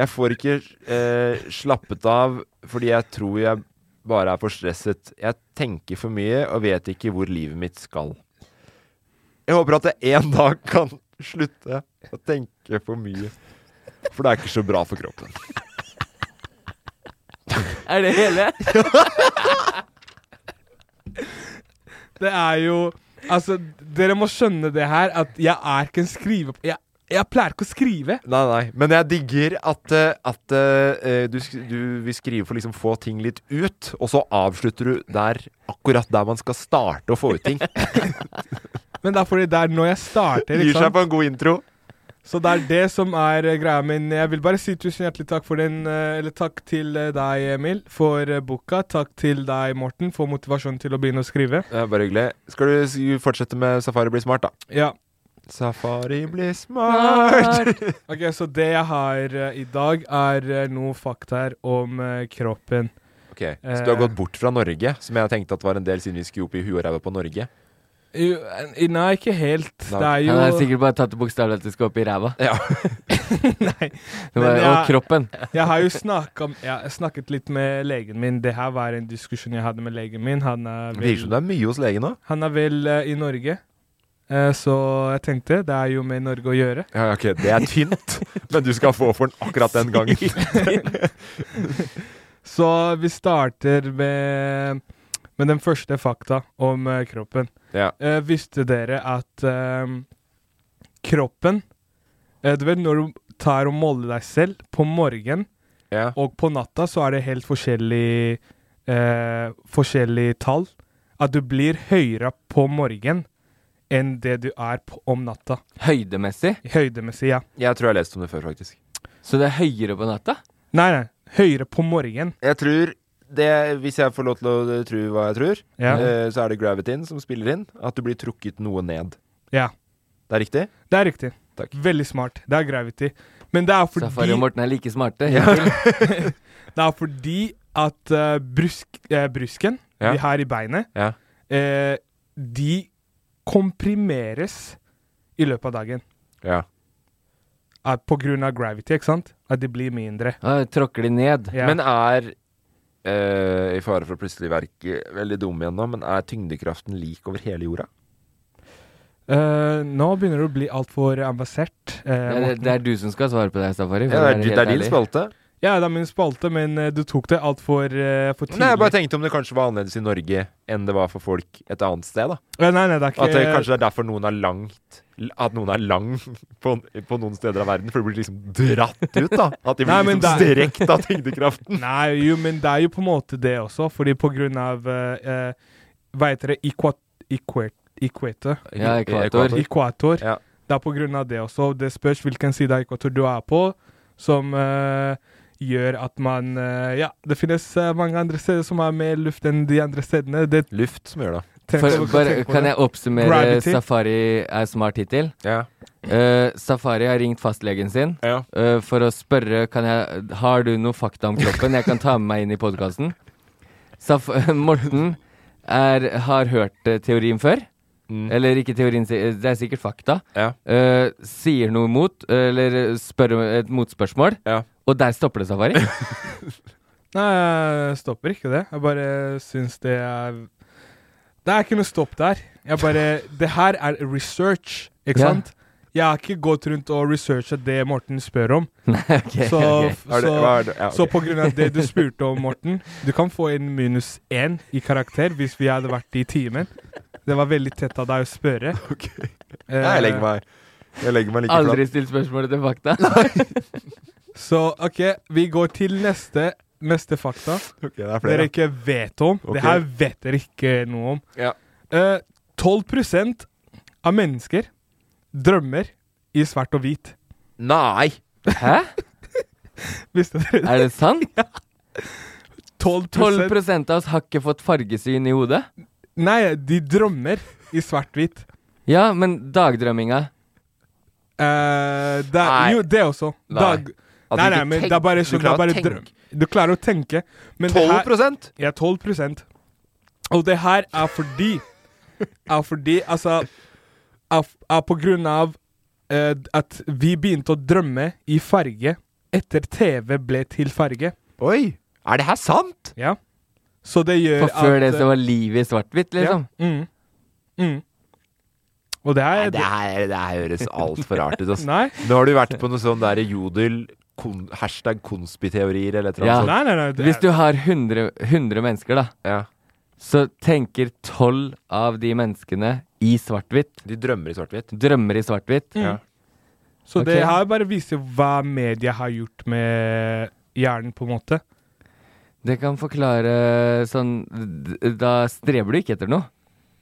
S4: jeg får ikke eh, slappet av fordi jeg tror jeg bare er for stresset. Jeg tenker for mye og vet ikke hvor livet mitt skal. Jeg håper at jeg en dag kan slutte å tenke for mye. For det er ikke så bra for kroppen.
S5: Er det hele?
S3: Det er jo Altså, dere må skjønne det her, at jeg er ikke en skrive... Jeg, jeg pleier ikke å skrive.
S4: Nei, nei. Men jeg digger at, eh, at eh, du, sk- du vil skrive for liksom få ting litt ut, og så avslutter du der akkurat der man skal starte å få ut ting.
S3: Men det er fordi det er når jeg starter,
S4: Gir
S3: ikke
S4: seg
S3: sant?
S4: på en god intro.
S3: Så det er det som er eh, greia min. Jeg vil bare si tusen hjertelig takk for den, eh, eller takk til eh, deg, Emil, for eh, boka. Takk til deg, Morten, for motivasjonen til å begynne å skrive.
S4: Det er bare hyggelig. Skal du s- fortsette med Safari blir smart, da?
S3: Ja.
S4: Safari blir smart.
S3: Smart! ok, så det jeg har eh, i dag, er eh, noen faktaer om eh, kroppen.
S4: Ok, Så du har gått bort fra Norge, som jeg tenkte at var en del siden vi skulle opp i huet og ræva på Norge?
S3: Jo, eh, Nei, ikke helt.
S4: Nei.
S3: Det er jo
S5: Han har sikkert bare tatt det bokstavelig at det skal opp i ræva.
S3: Nei.
S5: Det var,
S3: Men
S5: og
S3: jeg-
S5: kroppen.
S3: jeg har jo snakket, om- jeg har snakket litt med legen min. Det her var en diskusjon jeg hadde med legen min. Han er
S4: Det virker som det er mye hos legen nå.
S3: Han er vel eh, i Norge, eh, så jeg tenkte det er jo med Norge å gjøre.
S4: Ja, ok, Det er tynt, men du skal få for den akkurat den gangen.
S3: så vi starter med, med den første fakta om eh, kroppen.
S4: Ja.
S3: Eh, visste dere at eh, kroppen eh, Du vet når du tar og måler deg selv på morgenen og på natta, så er det helt forskjellig eh, forskjellig tall. At du blir høyere på morgenen enn det du er på, om natta.
S5: Høydemessig?
S3: Høydemessig, ja.
S4: Jeg tror jeg har lest om det før, faktisk.
S5: Så det er høyere på natta?
S3: Nei, nei. Høyere på morgenen.
S4: Jeg tror det, Hvis jeg får lov til å eh, tro hva jeg tror,
S3: Ja.
S4: eh, så er det gravityen som spiller inn. At du blir trukket noe ned.
S3: Ja.
S4: Det er riktig?
S3: Det er riktig. Veldig smart. Det er gravity. Men det er fordi
S5: Safari og Morten er like smarte.
S3: Ja.
S5: hittil.
S3: det er fordi at eh, brusk, eh, brusken
S5: Ja.
S3: vi har i beinet,
S4: Ja.
S3: eh, de komprimeres i løpet av dagen.
S4: Ja.
S3: At på grunn av gravity, ikke sant? At de blir mindre.
S5: tråkker de ned.
S3: Ja.
S4: Men er eh, I fare for å plutselig være veldig dum igjen nå, men er tyngdekraften lik over hele jorda?
S3: Eh, nå begynner du å bli altfor avansert. eh,
S5: Det er,
S3: Morten.
S5: det er du som skal svare på det, Safari. for
S4: Ja,
S5: å
S4: det er,
S5: være
S4: di- det
S5: helt
S4: er din
S5: ærlig.
S4: spalte.
S3: Ja, det er min spalte, men eh, du tok det altfor uh, for tidlig.
S4: Nei, jeg bare tenkte om det kanskje var annerledes i Norge enn det var for folk et annet sted. da
S3: Ja, Eh, nei, nei, det er ikke-
S4: At det kanskje er derfor noen er langt At noen er lang på, på noen steder av verden, for de blir liksom dratt ut. da At de blir
S3: Nei, men
S4: liksom
S3: det er-
S4: strekt av tyngdekraften.
S3: Nei, jo, men det er jo på en måte det også, fordi på grunn av uh, Hva heter det? Equat... Equate?
S5: Ja, ekvator.
S3: Ekvator. Det er på grunn av det også. Det spørs hvilken side av ekvator du er på, som eh, gjør at man eh, Ja, det finnes eh, mange andre steder som er mer luft enn de andre stedene. Det
S4: luft som gjør det.
S5: For, bare, kan jeg oppsummere Safari er smart hittil? Eh, Safari har ringt fastlegen sin eh, for å spørre kan jeg, Har du noe fakta om kroppen jeg kan ta med meg inn i podkasten. Morten er, har hørt eh, teorien før.
S4: Mm.
S5: Eller ikke teorien, si- eh, det er sikkert fakta. Eh, sier noe imot, eller spør et motspørsmål, og der stopper det, Safari.
S3: Nei, jeg stopper ikke det. Jeg bare syns det er Det er ikke noe stopp der. Jeg bare Det her er research, ikke
S5: Ja.
S3: sant? Jeg har ikke gått rundt og researchet det Morten spør om.
S5: ok,
S3: så,
S5: ok.
S3: Så,
S5: Er det- hva er det- ja, ok.
S3: så på grunn av det du spurte om, Morten Du kan få en minus én i karakter hvis vi hadde vært i timen. Det var veldig tett av deg å spørre. Eh,
S4: Jeg legger meg, jeg legger meg like
S5: Aldri
S4: flatt.
S5: stilt spørsmål etter fakta.
S3: Så OK, vi går til neste, neste fakta.
S4: er flere.
S3: dere ikke vet om.
S4: Ok.
S3: Det her vet dere ikke noe om. Eh, 12 av mennesker drømmer i svart og hvit.
S4: Nei!
S5: Hæ?
S3: Visste dere det?
S5: Er det sant?
S3: 12,
S5: 12 av oss har ikke fått fargesyn i hodet.
S3: Nei, de drømmer i svart-hvitt.
S5: Ja, men dagdrømminga
S3: Eh, det, er- jo, det også.
S5: Nei.
S3: Dag,
S5: At
S3: nei,
S5: du
S3: nei,
S5: ikke
S3: men det er
S5: tenk-
S3: bare
S5: du
S3: sånn
S5: klarer
S3: det er bare
S5: å
S3: drøm. Du klarer å tenke. Men det her-
S4: 12%?
S3: Ja, 12 Og det her er fordi Er fordi, altså Er, er på grunn av eh, at vi begynte å drømme i farge etter TV ble til farge.
S4: Oi! Er det her sant?
S3: Ja. Så det gjør
S5: For
S3: at
S5: før det så var livet i svart-hvitt, liksom.
S3: Ja. Mm. Mm. Og det er
S4: Det her, det her høres altfor rart ut. ass.
S3: Nei.
S4: Nå har du vært på noe sånn der jodel kon, hashtag konspiteorier eller et eller
S5: Ja.
S4: annet. sånt.
S5: Hvis du har 100, 100 mennesker, da, så tenker 12 av de menneskene i svart-hvitt.
S4: De drømmer i svart-hvitt.
S5: Drømmer i svart-hvitt.
S3: Mm. Så
S5: Ok.
S3: det her bare viser hva media har gjort med hjernen, på en måte.
S5: Det kan forklare sånn d- Da streber du ikke etter noe.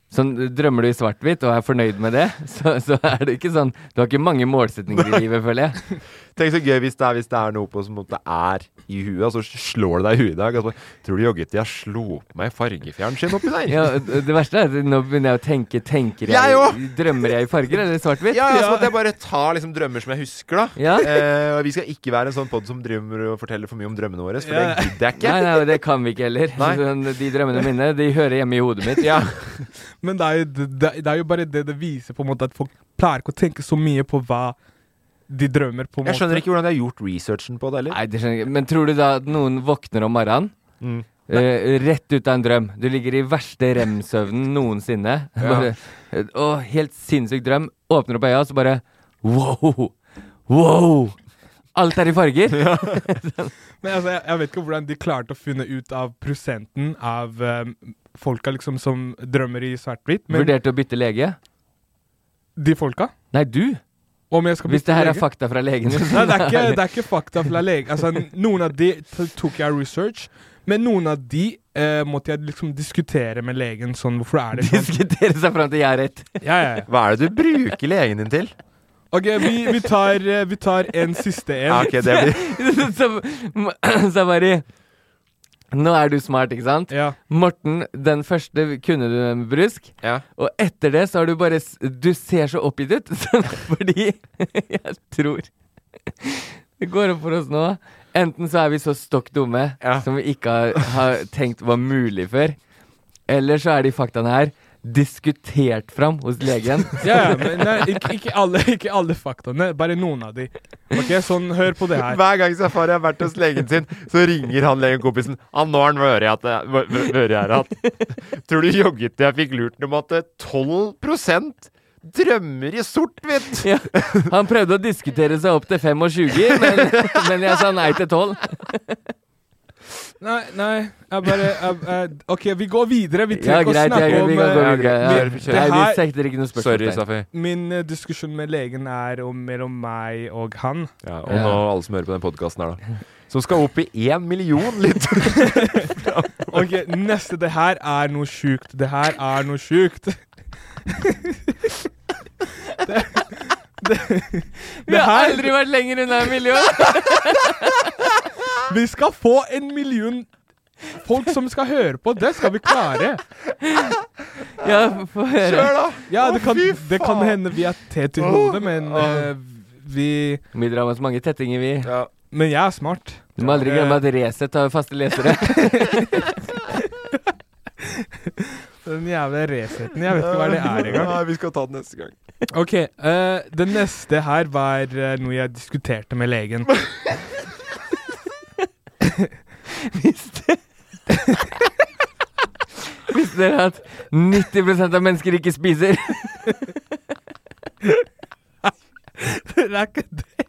S5: Sånn, drømmer du i svart-hvitt og er fornøyd med det, så, så er det ikke sånn Du har ikke mange målsetninger i livet, føler jeg.
S4: Tenk så gøy hvis det er, hvis det er noe på som det er i huet, og så slår det deg i huet i dag. Altså, tror du jogget til jeg slo på meg fargefjernsyn oppi der?
S5: Ja, det det verste er at nå begynner jeg å tenke Tenker jeg,
S4: Jeg òg!
S5: Drømmer jeg i farger eller svart-hvitt?
S4: Ja, ja, så måtte jeg bare ta liksom drømmer som jeg husker, da.
S5: Ja.
S4: Eh, og vi skal ikke være en sånn pod som driver og forteller for mye om drømmene våre, for
S5: Ja.
S4: det gidder jeg ikke.
S5: Nei, nei, det kan vi ikke heller.
S4: Nei.
S5: Sånn, De drømmene mine, de hører hjemme i hodet mitt.
S3: Men det er, jo, det, det- det er jo bare det det viser på en måte at folk pleier ikke å tenke så mye på hva de drømmer på en
S4: Jeg
S3: måte.
S4: skjønner ikke hvordan de har gjort researchen på det heller.
S5: Nei, det skjønner jeg ikke. Men tror du da at noen våkner om morgenen?
S3: Mm.
S5: eh, rett ut av en drøm. Du ligger i verste rem-søvnen noensinne. Bare, og helt sinnssyk drøm. Åpner opp øya, og så bare Wow! Wow! Alt er i farger!
S3: Men altså, jeg, jeg vet ikke hvordan de klarte å finne ut av prosenten av um, folka liksom som drømmer i svart-hvitt. Men
S5: Vurderte å bytte lege?
S3: de folka
S5: Nei, du!
S3: Om jeg skal
S5: Hvis
S3: bytte
S5: det her er
S3: lege?
S5: fakta fra legen din,
S3: Nei, det er ikke, det er ikke fakta fra lege. Altså, n- noen av de t- tok jeg research, men noen av de eh, måtte jeg liksom diskutere med legen sånn, hvorfor er det sånn?
S5: Diskutere seg fram til jeg er rett.
S3: Ja, ja, ja.
S4: Hva er det du bruker legen din til?
S3: Ok, vi, vi, tar, eh, vi tar en siste en.
S4: Ja, Ah, ok, det blir
S5: så, Safari Nå er du smart, ikke sant? Morten, den første kunne du en brusk Og etter det så har du bare s- Du ser så oppgitt ut Fordi jeg tror Det går opp for oss nå Enten så er vi så stokk dumme Som vi ikke har, har tenkt var mulig før Eller så er de faktaene her Diskutert fram hos legen
S3: Ja, ja, men nei, ikke, ikke, alle, ikke alle faktaene, bare noen av de. Ok, sånn, hør på det her.
S4: Hver gang Safari har vært hos legen sin, så ringer han legenkompisen. Han nå har han vært at jeg- væ- væ- vært her at Tror du jogget til jeg fikk lurt om at eh, 12 drømmer i sort-hvitt?
S5: ja, Han prøvde å diskutere seg opp til 25 Men, men jeg sa nei til 12
S3: Nei, nei, jeg bare jeg, jeg, OK, vi går videre. Vi
S5: Ja,
S3: trenger ikke å
S5: greit, ja,
S3: snakke
S5: greit,
S3: om
S5: vi kan gå
S3: eh,
S5: videre. Ja,
S3: vi-
S5: ja,
S3: det
S5: Nei, vi
S3: her-
S5: setter ikke noe spørsmål.
S4: Sorry, Safi.
S3: Min eh, diskusjon med legen er om, mellom meg og han.
S4: Ja, og nå alle som hører på den podkasten her, da. Som skal opp i én million litt.
S3: Ok, neste. Det her er noe sjukt. Det her er noe sjukt. Det, det,
S5: Vi
S3: det
S5: har
S3: her
S5: aldri vært lenger unna en million!
S3: Vi skal få en million folk som skal høre på. Det skal vi klare.
S5: Ja, få høre.
S3: Kjør, da. Ja, det kan, det kan hende vi er tett i hodet, men eh, vi
S5: Vi drar med oss mange tettinger, vi.
S3: Men jeg er smart.
S5: Du må aldri glemme at Resett har faste lesere.
S3: Den jævla reseten. Jeg vet ikke hva det er engang.
S4: Nei, vi skal ta den neste gang.
S3: Ok, eh, det neste her var eh, noe jeg diskuterte med legen.
S5: Visste dere at 90 av mennesker ikke spiser?
S3: det er ikke det.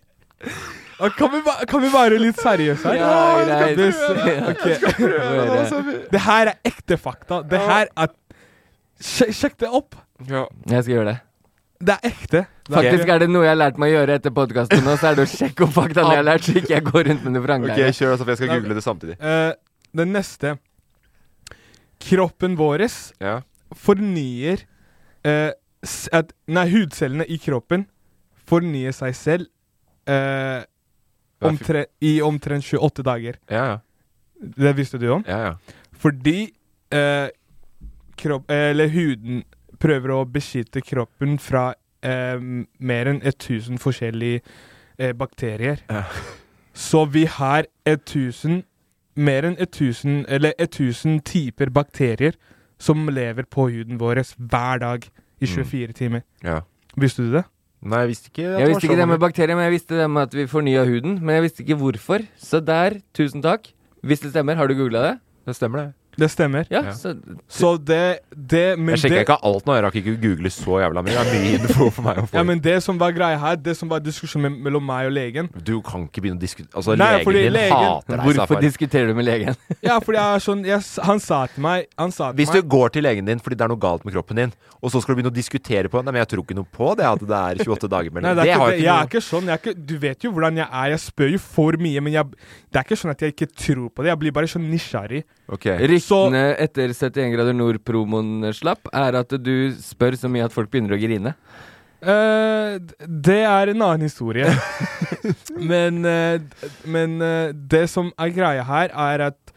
S3: Ah, Kan vi, ba- kan vi være litt seriøse her?
S5: Ja, greit.
S3: Det s-
S5: Ja,
S3: ok.
S5: jeg skal prøve altså. nå, Samir.
S3: Det her er ekte fakta. Det her er Sje- Sjekk det opp.
S5: Jeg skal gjøre det.
S3: Det er ekte.
S5: Faktisk er det noe jeg har lært meg å gjøre etter podkasten nå, så er det å sjekke opp faktaene jeg har lært, så ikke jeg går rundt med noe
S4: Ok,
S5: vranglære.
S4: kjør, Safi. Jeg skal google det samtidig.
S3: Eh, den neste Kroppen vår
S4: Ja.
S3: fornyer eh, s- at, Nei, hudcellene i kroppen fornyer seg selv
S4: Hver
S3: eh,
S4: fj-
S3: omtre, i omtrent 28 dager.
S4: Ja, ja.
S3: Det visste du om?
S4: Ja, ja.
S3: Fordi eh, kropp, eller huden prøver å beskytte kroppen fra eh, mer enn 1000 forskjellige eh, bakterier. Så vi har 1000 mer enn 1000 eller 1000 typer bakterier som lever på huden vår hver dag
S4: Mm.
S3: i 24 timer.
S4: Ja.
S3: Visste du det?
S4: Nei, jeg visste ikke at det
S5: Jeg
S4: var sånn.
S5: visste ikke
S4: så
S5: det med
S4: mange.
S5: bakterier, men jeg visste det med at vi fornya huden. Men jeg visste ikke hvorfor. Så der, tusen takk. Hvis det stemmer, har du googla det?
S4: Det stemmer, det.
S3: Det stemmer.
S5: Ja,
S4: Ja.
S5: Så,
S3: Så det, det men
S4: Jeg sjekka
S3: det-
S4: ikke alt nå. Jeg rakk ikke å google så jævla mye. Det er mye info for meg å få.
S3: Ja, men det som var greia her, det som var diskusjonen me- mellom meg og legen
S4: Du kan ikke begynne å diskutere Altså,
S3: Nei, fordi
S4: legen din
S3: legen-
S4: hater deg,
S5: hvorfor
S4: Safari.
S5: diskuterer du med legen?
S3: Ja, fordi jeg er sånn jeg, s- Han sa til meg Han sa til
S4: Hvis
S3: meg
S4: du går til legen din fordi det er noe galt med kroppen din, og så skal du begynne å diskutere på Nei, men jeg tror ikke noe på det at det er 28 dager
S3: Nei,
S4: mellom
S3: det er ikke,
S4: har
S3: det.
S4: jo
S3: Jeg
S4: noe-
S3: er ikke sånn. Jeg er ikke, du vet jo hvordan jeg er. Jeg spør jo for mye, men jeg, det er ikke sånn at jeg ikke tror på det. Jeg blir bare så nysgjerrig.
S5: Ryktene etter 71 grader nord-promoen slapp, er at du spør så mye at folk begynner å grine.
S3: Eh, d- det er en annen historie. men eh, d- men eh, det som er greia her, er at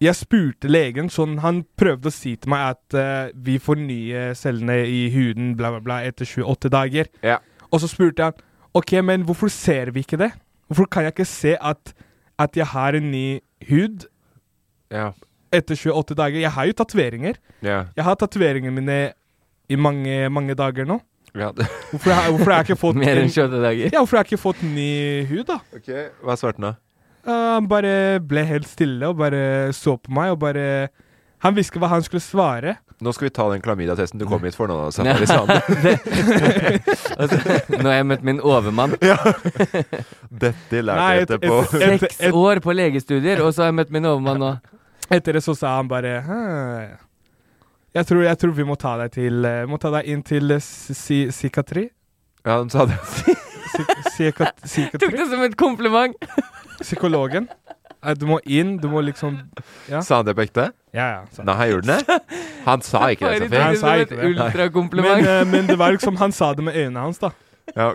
S3: jeg spurte legen sånn Han prøvde å si til meg at eh, vi fornyer cellene i huden bla, bla, bla, etter 28 dager. Og så spurte han OK, men hvorfor ser vi ikke det? Hvorfor kan jeg ikke se at, at jeg har en ny hud etter 28 dager? Jeg har jo tatoveringer.
S4: Ja.
S3: Jeg har tatoveringene mine i mange, mange dager nå.
S4: Ja.
S3: Hvorfor har hvorfor har jeg ikke fått
S5: Mer enn
S3: en-
S5: 28 dager.
S3: Ja, hvorfor har jeg ikke fått ny hud, da?
S4: Hva svarte han da?
S3: Eh, han bare ble helt stille og bare så på meg og bare Han visste hva han skulle svare.
S4: Nå skal vi ta den klamydia-testen du kom hit for nå, Safari Sand.
S5: Nå har jeg møtt min overmann.
S4: Dette lærte jeg etterpå.
S5: Seks år på legestudier, og så har jeg møtt min overmann nå.
S3: Etter det så sa han bare «Hæ, jeg tror, jeg tror vi må ta deg til eh, Må ta deg inn til eh, si- si- psykiatri.
S4: Ja, han sa det.
S3: Psykiat-
S5: Tok
S3: Psykiatri.
S5: det som et kompliment.
S3: Psykologen. Eh, Du må inn, du må liksom Ja.
S4: Sa han det på ekte?
S3: Ja, ja, sa han.
S4: Nei, gjorde han det? Han sa ikke det,
S3: Nei,
S4: Safari.
S3: han sa ikke det. Men, eh, men det var liksom Han sa det med øynene hans, da.
S4: Ja,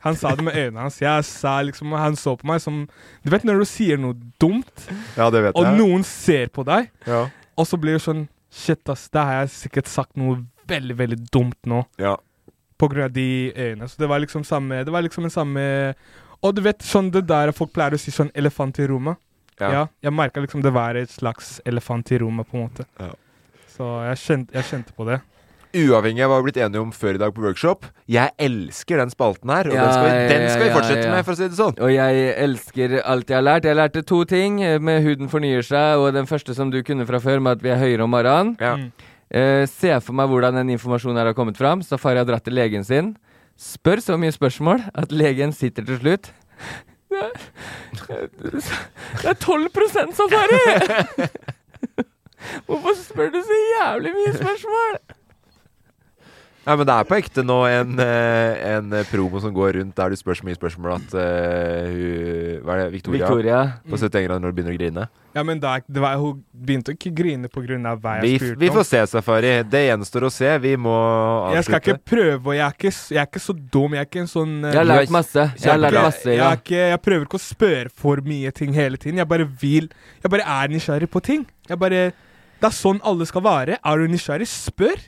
S3: Han sa det med øynene hans. Jeg sa liksom Han så på meg som Du vet når du sier noe dumt,
S4: Ja, det vet
S3: og
S4: jeg.
S3: noen ser på deg,
S4: Ja.
S3: og så blir du sånn Shit, ass, da har jeg sikkert sagt noe veldig, veldig dumt nå.
S4: Ja.
S3: På grunn av de øynene. Så det var liksom samme Det var liksom den samme Og du vet sånn det der folk pleier å si sånn elefant i rommet.
S4: Ja.
S3: Ja. jeg merka liksom det var et slags elefant i rommet, på en måte. Så jeg kjente, jeg kjente på det.
S4: Uavhengig av hva vi har blitt enige om før i dag på workshop, jeg elsker den spalten her. Og
S5: Ja,
S4: den skal vi,
S5: ja,
S4: den skal vi
S5: ja,
S4: fortsette
S5: ja.
S4: med, for å si det sånn.
S5: Og jeg elsker alt jeg har lært. Jeg lærte to ting eh, med Huden fornyer seg, og den første som du kunne fra før, med at vi er høyere om morgenen. Eh, se for meg hvordan den informasjonen her har kommet fram. Safari har dratt til legen sin. Spør så mye spørsmål at legen sitter til slutt. Det er 12 safari! Hvorfor spør du så jævlig mye spørsmål?
S4: Nei, men det er på ekte nå en, eh, en promo som går rundt der du spør så mye spørsmål at eh, hun Hva er det? Victoria?
S5: Victoria.
S4: På 71 grader når du begynner å grine.
S3: Ja, men da, det var, hun begynte ikke å grine på grunn av hva
S4: Vi,
S3: jeg spurte om.
S4: vi får se, Safari. Det gjenstår å se. Vi må
S3: Jeg skal ikke
S4: avslutte.
S3: prøve, og jeg er ikke, s- jeg er ikke så dum. Jeg er ikke en sånn eh,
S5: Jeg har lært masse. Jeg har
S3: er
S5: lært
S3: ikke-
S5: masse,
S3: jeg,
S5: ja.
S3: er ikke, jeg prøver ikke å spørre for mye ting hele tiden. Jeg bare vil Jeg bare er nysgjerrig på ting. Jeg bare Det er sånn alle skal være. Er du nysgjerrig, spør.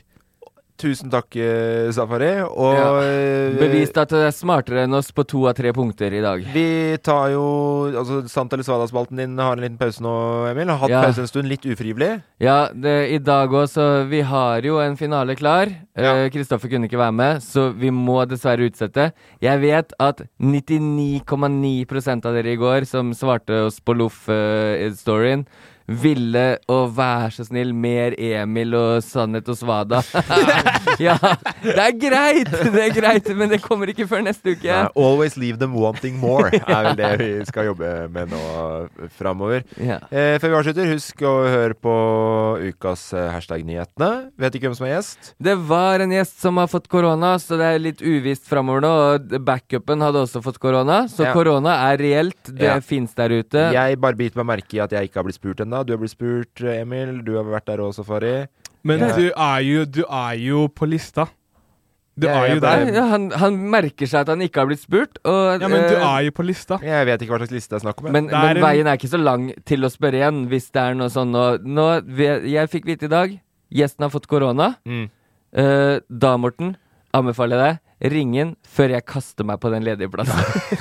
S4: Tusen takk, eh, Safari. Og
S5: Ja.
S4: eh,
S5: Bevist at det er smartere enn oss på to av tre punkter i dag.
S4: Vi tar jo altså, Sant eller svada-spalten din har en liten pause nå, Emil. Har hatt
S5: Ja.
S4: pause en stund, litt ufrivillig.
S5: Ja, det, i dag òg, så vi har jo en finale klar. Eh, Kristoffer kunne ikke være med, så vi må dessverre utsette. Jeg vet at 99,9 av dere i går som svarte oss på Loff-storyen, ville å være så snill mer Emil og Sannhet og Svada. ja, det er greit! Det er greit, men det kommer ikke før neste uke.
S4: Nei, Eh, always leave them wanting more, er vel det vi skal jobbe med nå framover.
S5: Ja.
S4: Eh, før vi avslutter, husk å høre på ukas eh, hashtag-nyhetene. Vet ikke hvem som er gjest.
S5: Det var en gjest som har fått korona, så det er litt uvisst framover nå. Og backupen hadde også fått korona, så
S4: Ja.
S5: korona er reelt. Det
S4: Ja.
S5: fins der ute.
S4: Jeg bare biter meg merke i at jeg ikke har blitt spurt ennå. Du har blitt spurt, eh, Emil. Du har vært der òg, Safari.
S3: Men
S4: Ja.
S3: du, er jo, du er jo på lista. Du
S4: Ja,
S3: er
S4: jeg
S3: jo
S4: bare-
S3: der.
S5: Ja, han, han merker seg at han ikke har blitt spurt. Og,
S3: Ja, men du
S5: eh,
S3: er jo på lista.
S4: Jeg vet ikke hva slags liste det er snakk om. jeg.
S5: men,
S3: Det er
S5: men
S3: en-
S5: veien er ikke så lang til å spørre igjen hvis det er noe sånn nå, nå ve- Jeg fikk vite i dag gjesten har fått korona.
S4: Mm.
S5: Eh, da, Morten, anbefaler jeg deg ring inn før jeg kaster meg på den ledige plassen.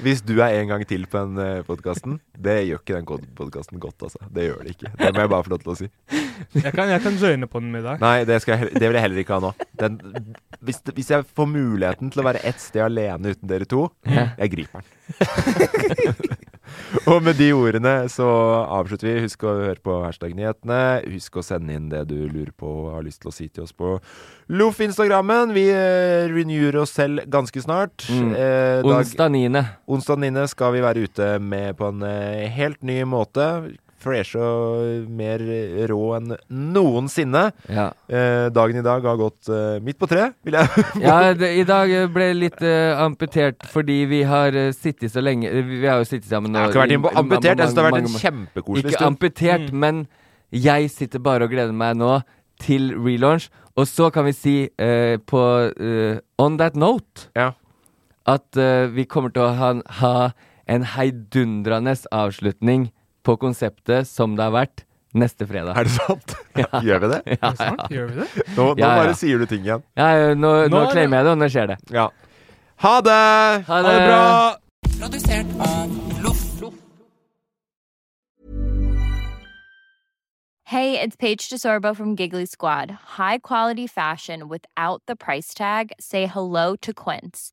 S4: Hvis du er en gang til på den podkasten, det gjør ikke den podkasten godt, altså. Det gjør det ikke. Det må jeg bare få lov til å si.
S3: Jeg kan, jeg kan joine på den med deg.
S4: Nei, det, skal jeg, hell- det vil jeg heller ikke ha nå. Den, hvis, hvis jeg får muligheten til å være ett sted alene uten dere to, jeg griper den. Og med de ordene så avslutter vi. Husk å høre på hashtag-nyhetene. Husk å sende inn det du lurer på og har lyst til å si til oss på Loff-instagrammen. Vi eh, renewer oss selv ganske snart.
S5: Mm.
S4: Eh, dag-
S5: Onsdag 9.
S4: Onsdag 9. skal vi være ute med på en eh, helt ny måte. fresh og mer rå enn noensinne. Eh, dagen i dag har gått eh, midt på treet, vil jeg
S5: Ja, det, I dag eh, ble jeg litt eh, amputert fordi vi har eh, sittet så lenge eh, Vi har jo sittet sammen
S4: Jeg
S5: nå
S4: har ikke vært
S5: i
S4: inne på
S5: ma- ma-
S4: amputert, jeg synes det har vært
S5: mange-
S4: en
S5: mange-
S4: kjempekoselig
S5: Ikke
S4: stund.
S5: amputert,
S10: Mm.
S5: men jeg sitter bare og gleder meg nå til relaunch. Og så kan vi si eh, på eh, On that note at eh, vi kommer til å ha, ha en heidundrende avslutning på konseptet som det har vært neste fredag.
S4: Er det sant?
S5: Ja.
S4: Gjør vi det? Er
S5: Ja,
S4: det sant?
S5: ja.
S4: Gjør vi det? Nå, nå
S5: Ja, ja.
S4: bare sier du ting igjen.
S5: Ja, ja, eh, nå, nå,
S4: Nå er det-
S5: claimer jeg det, og nå skjer det.
S4: Ja. Ha det!
S5: Ha
S4: det bra!
S11: Produsert av Loff.
S10: Hey, it's Paige DeSorbo from Giggly Squad. High quality fashion without the price tag. Say hello to Quince.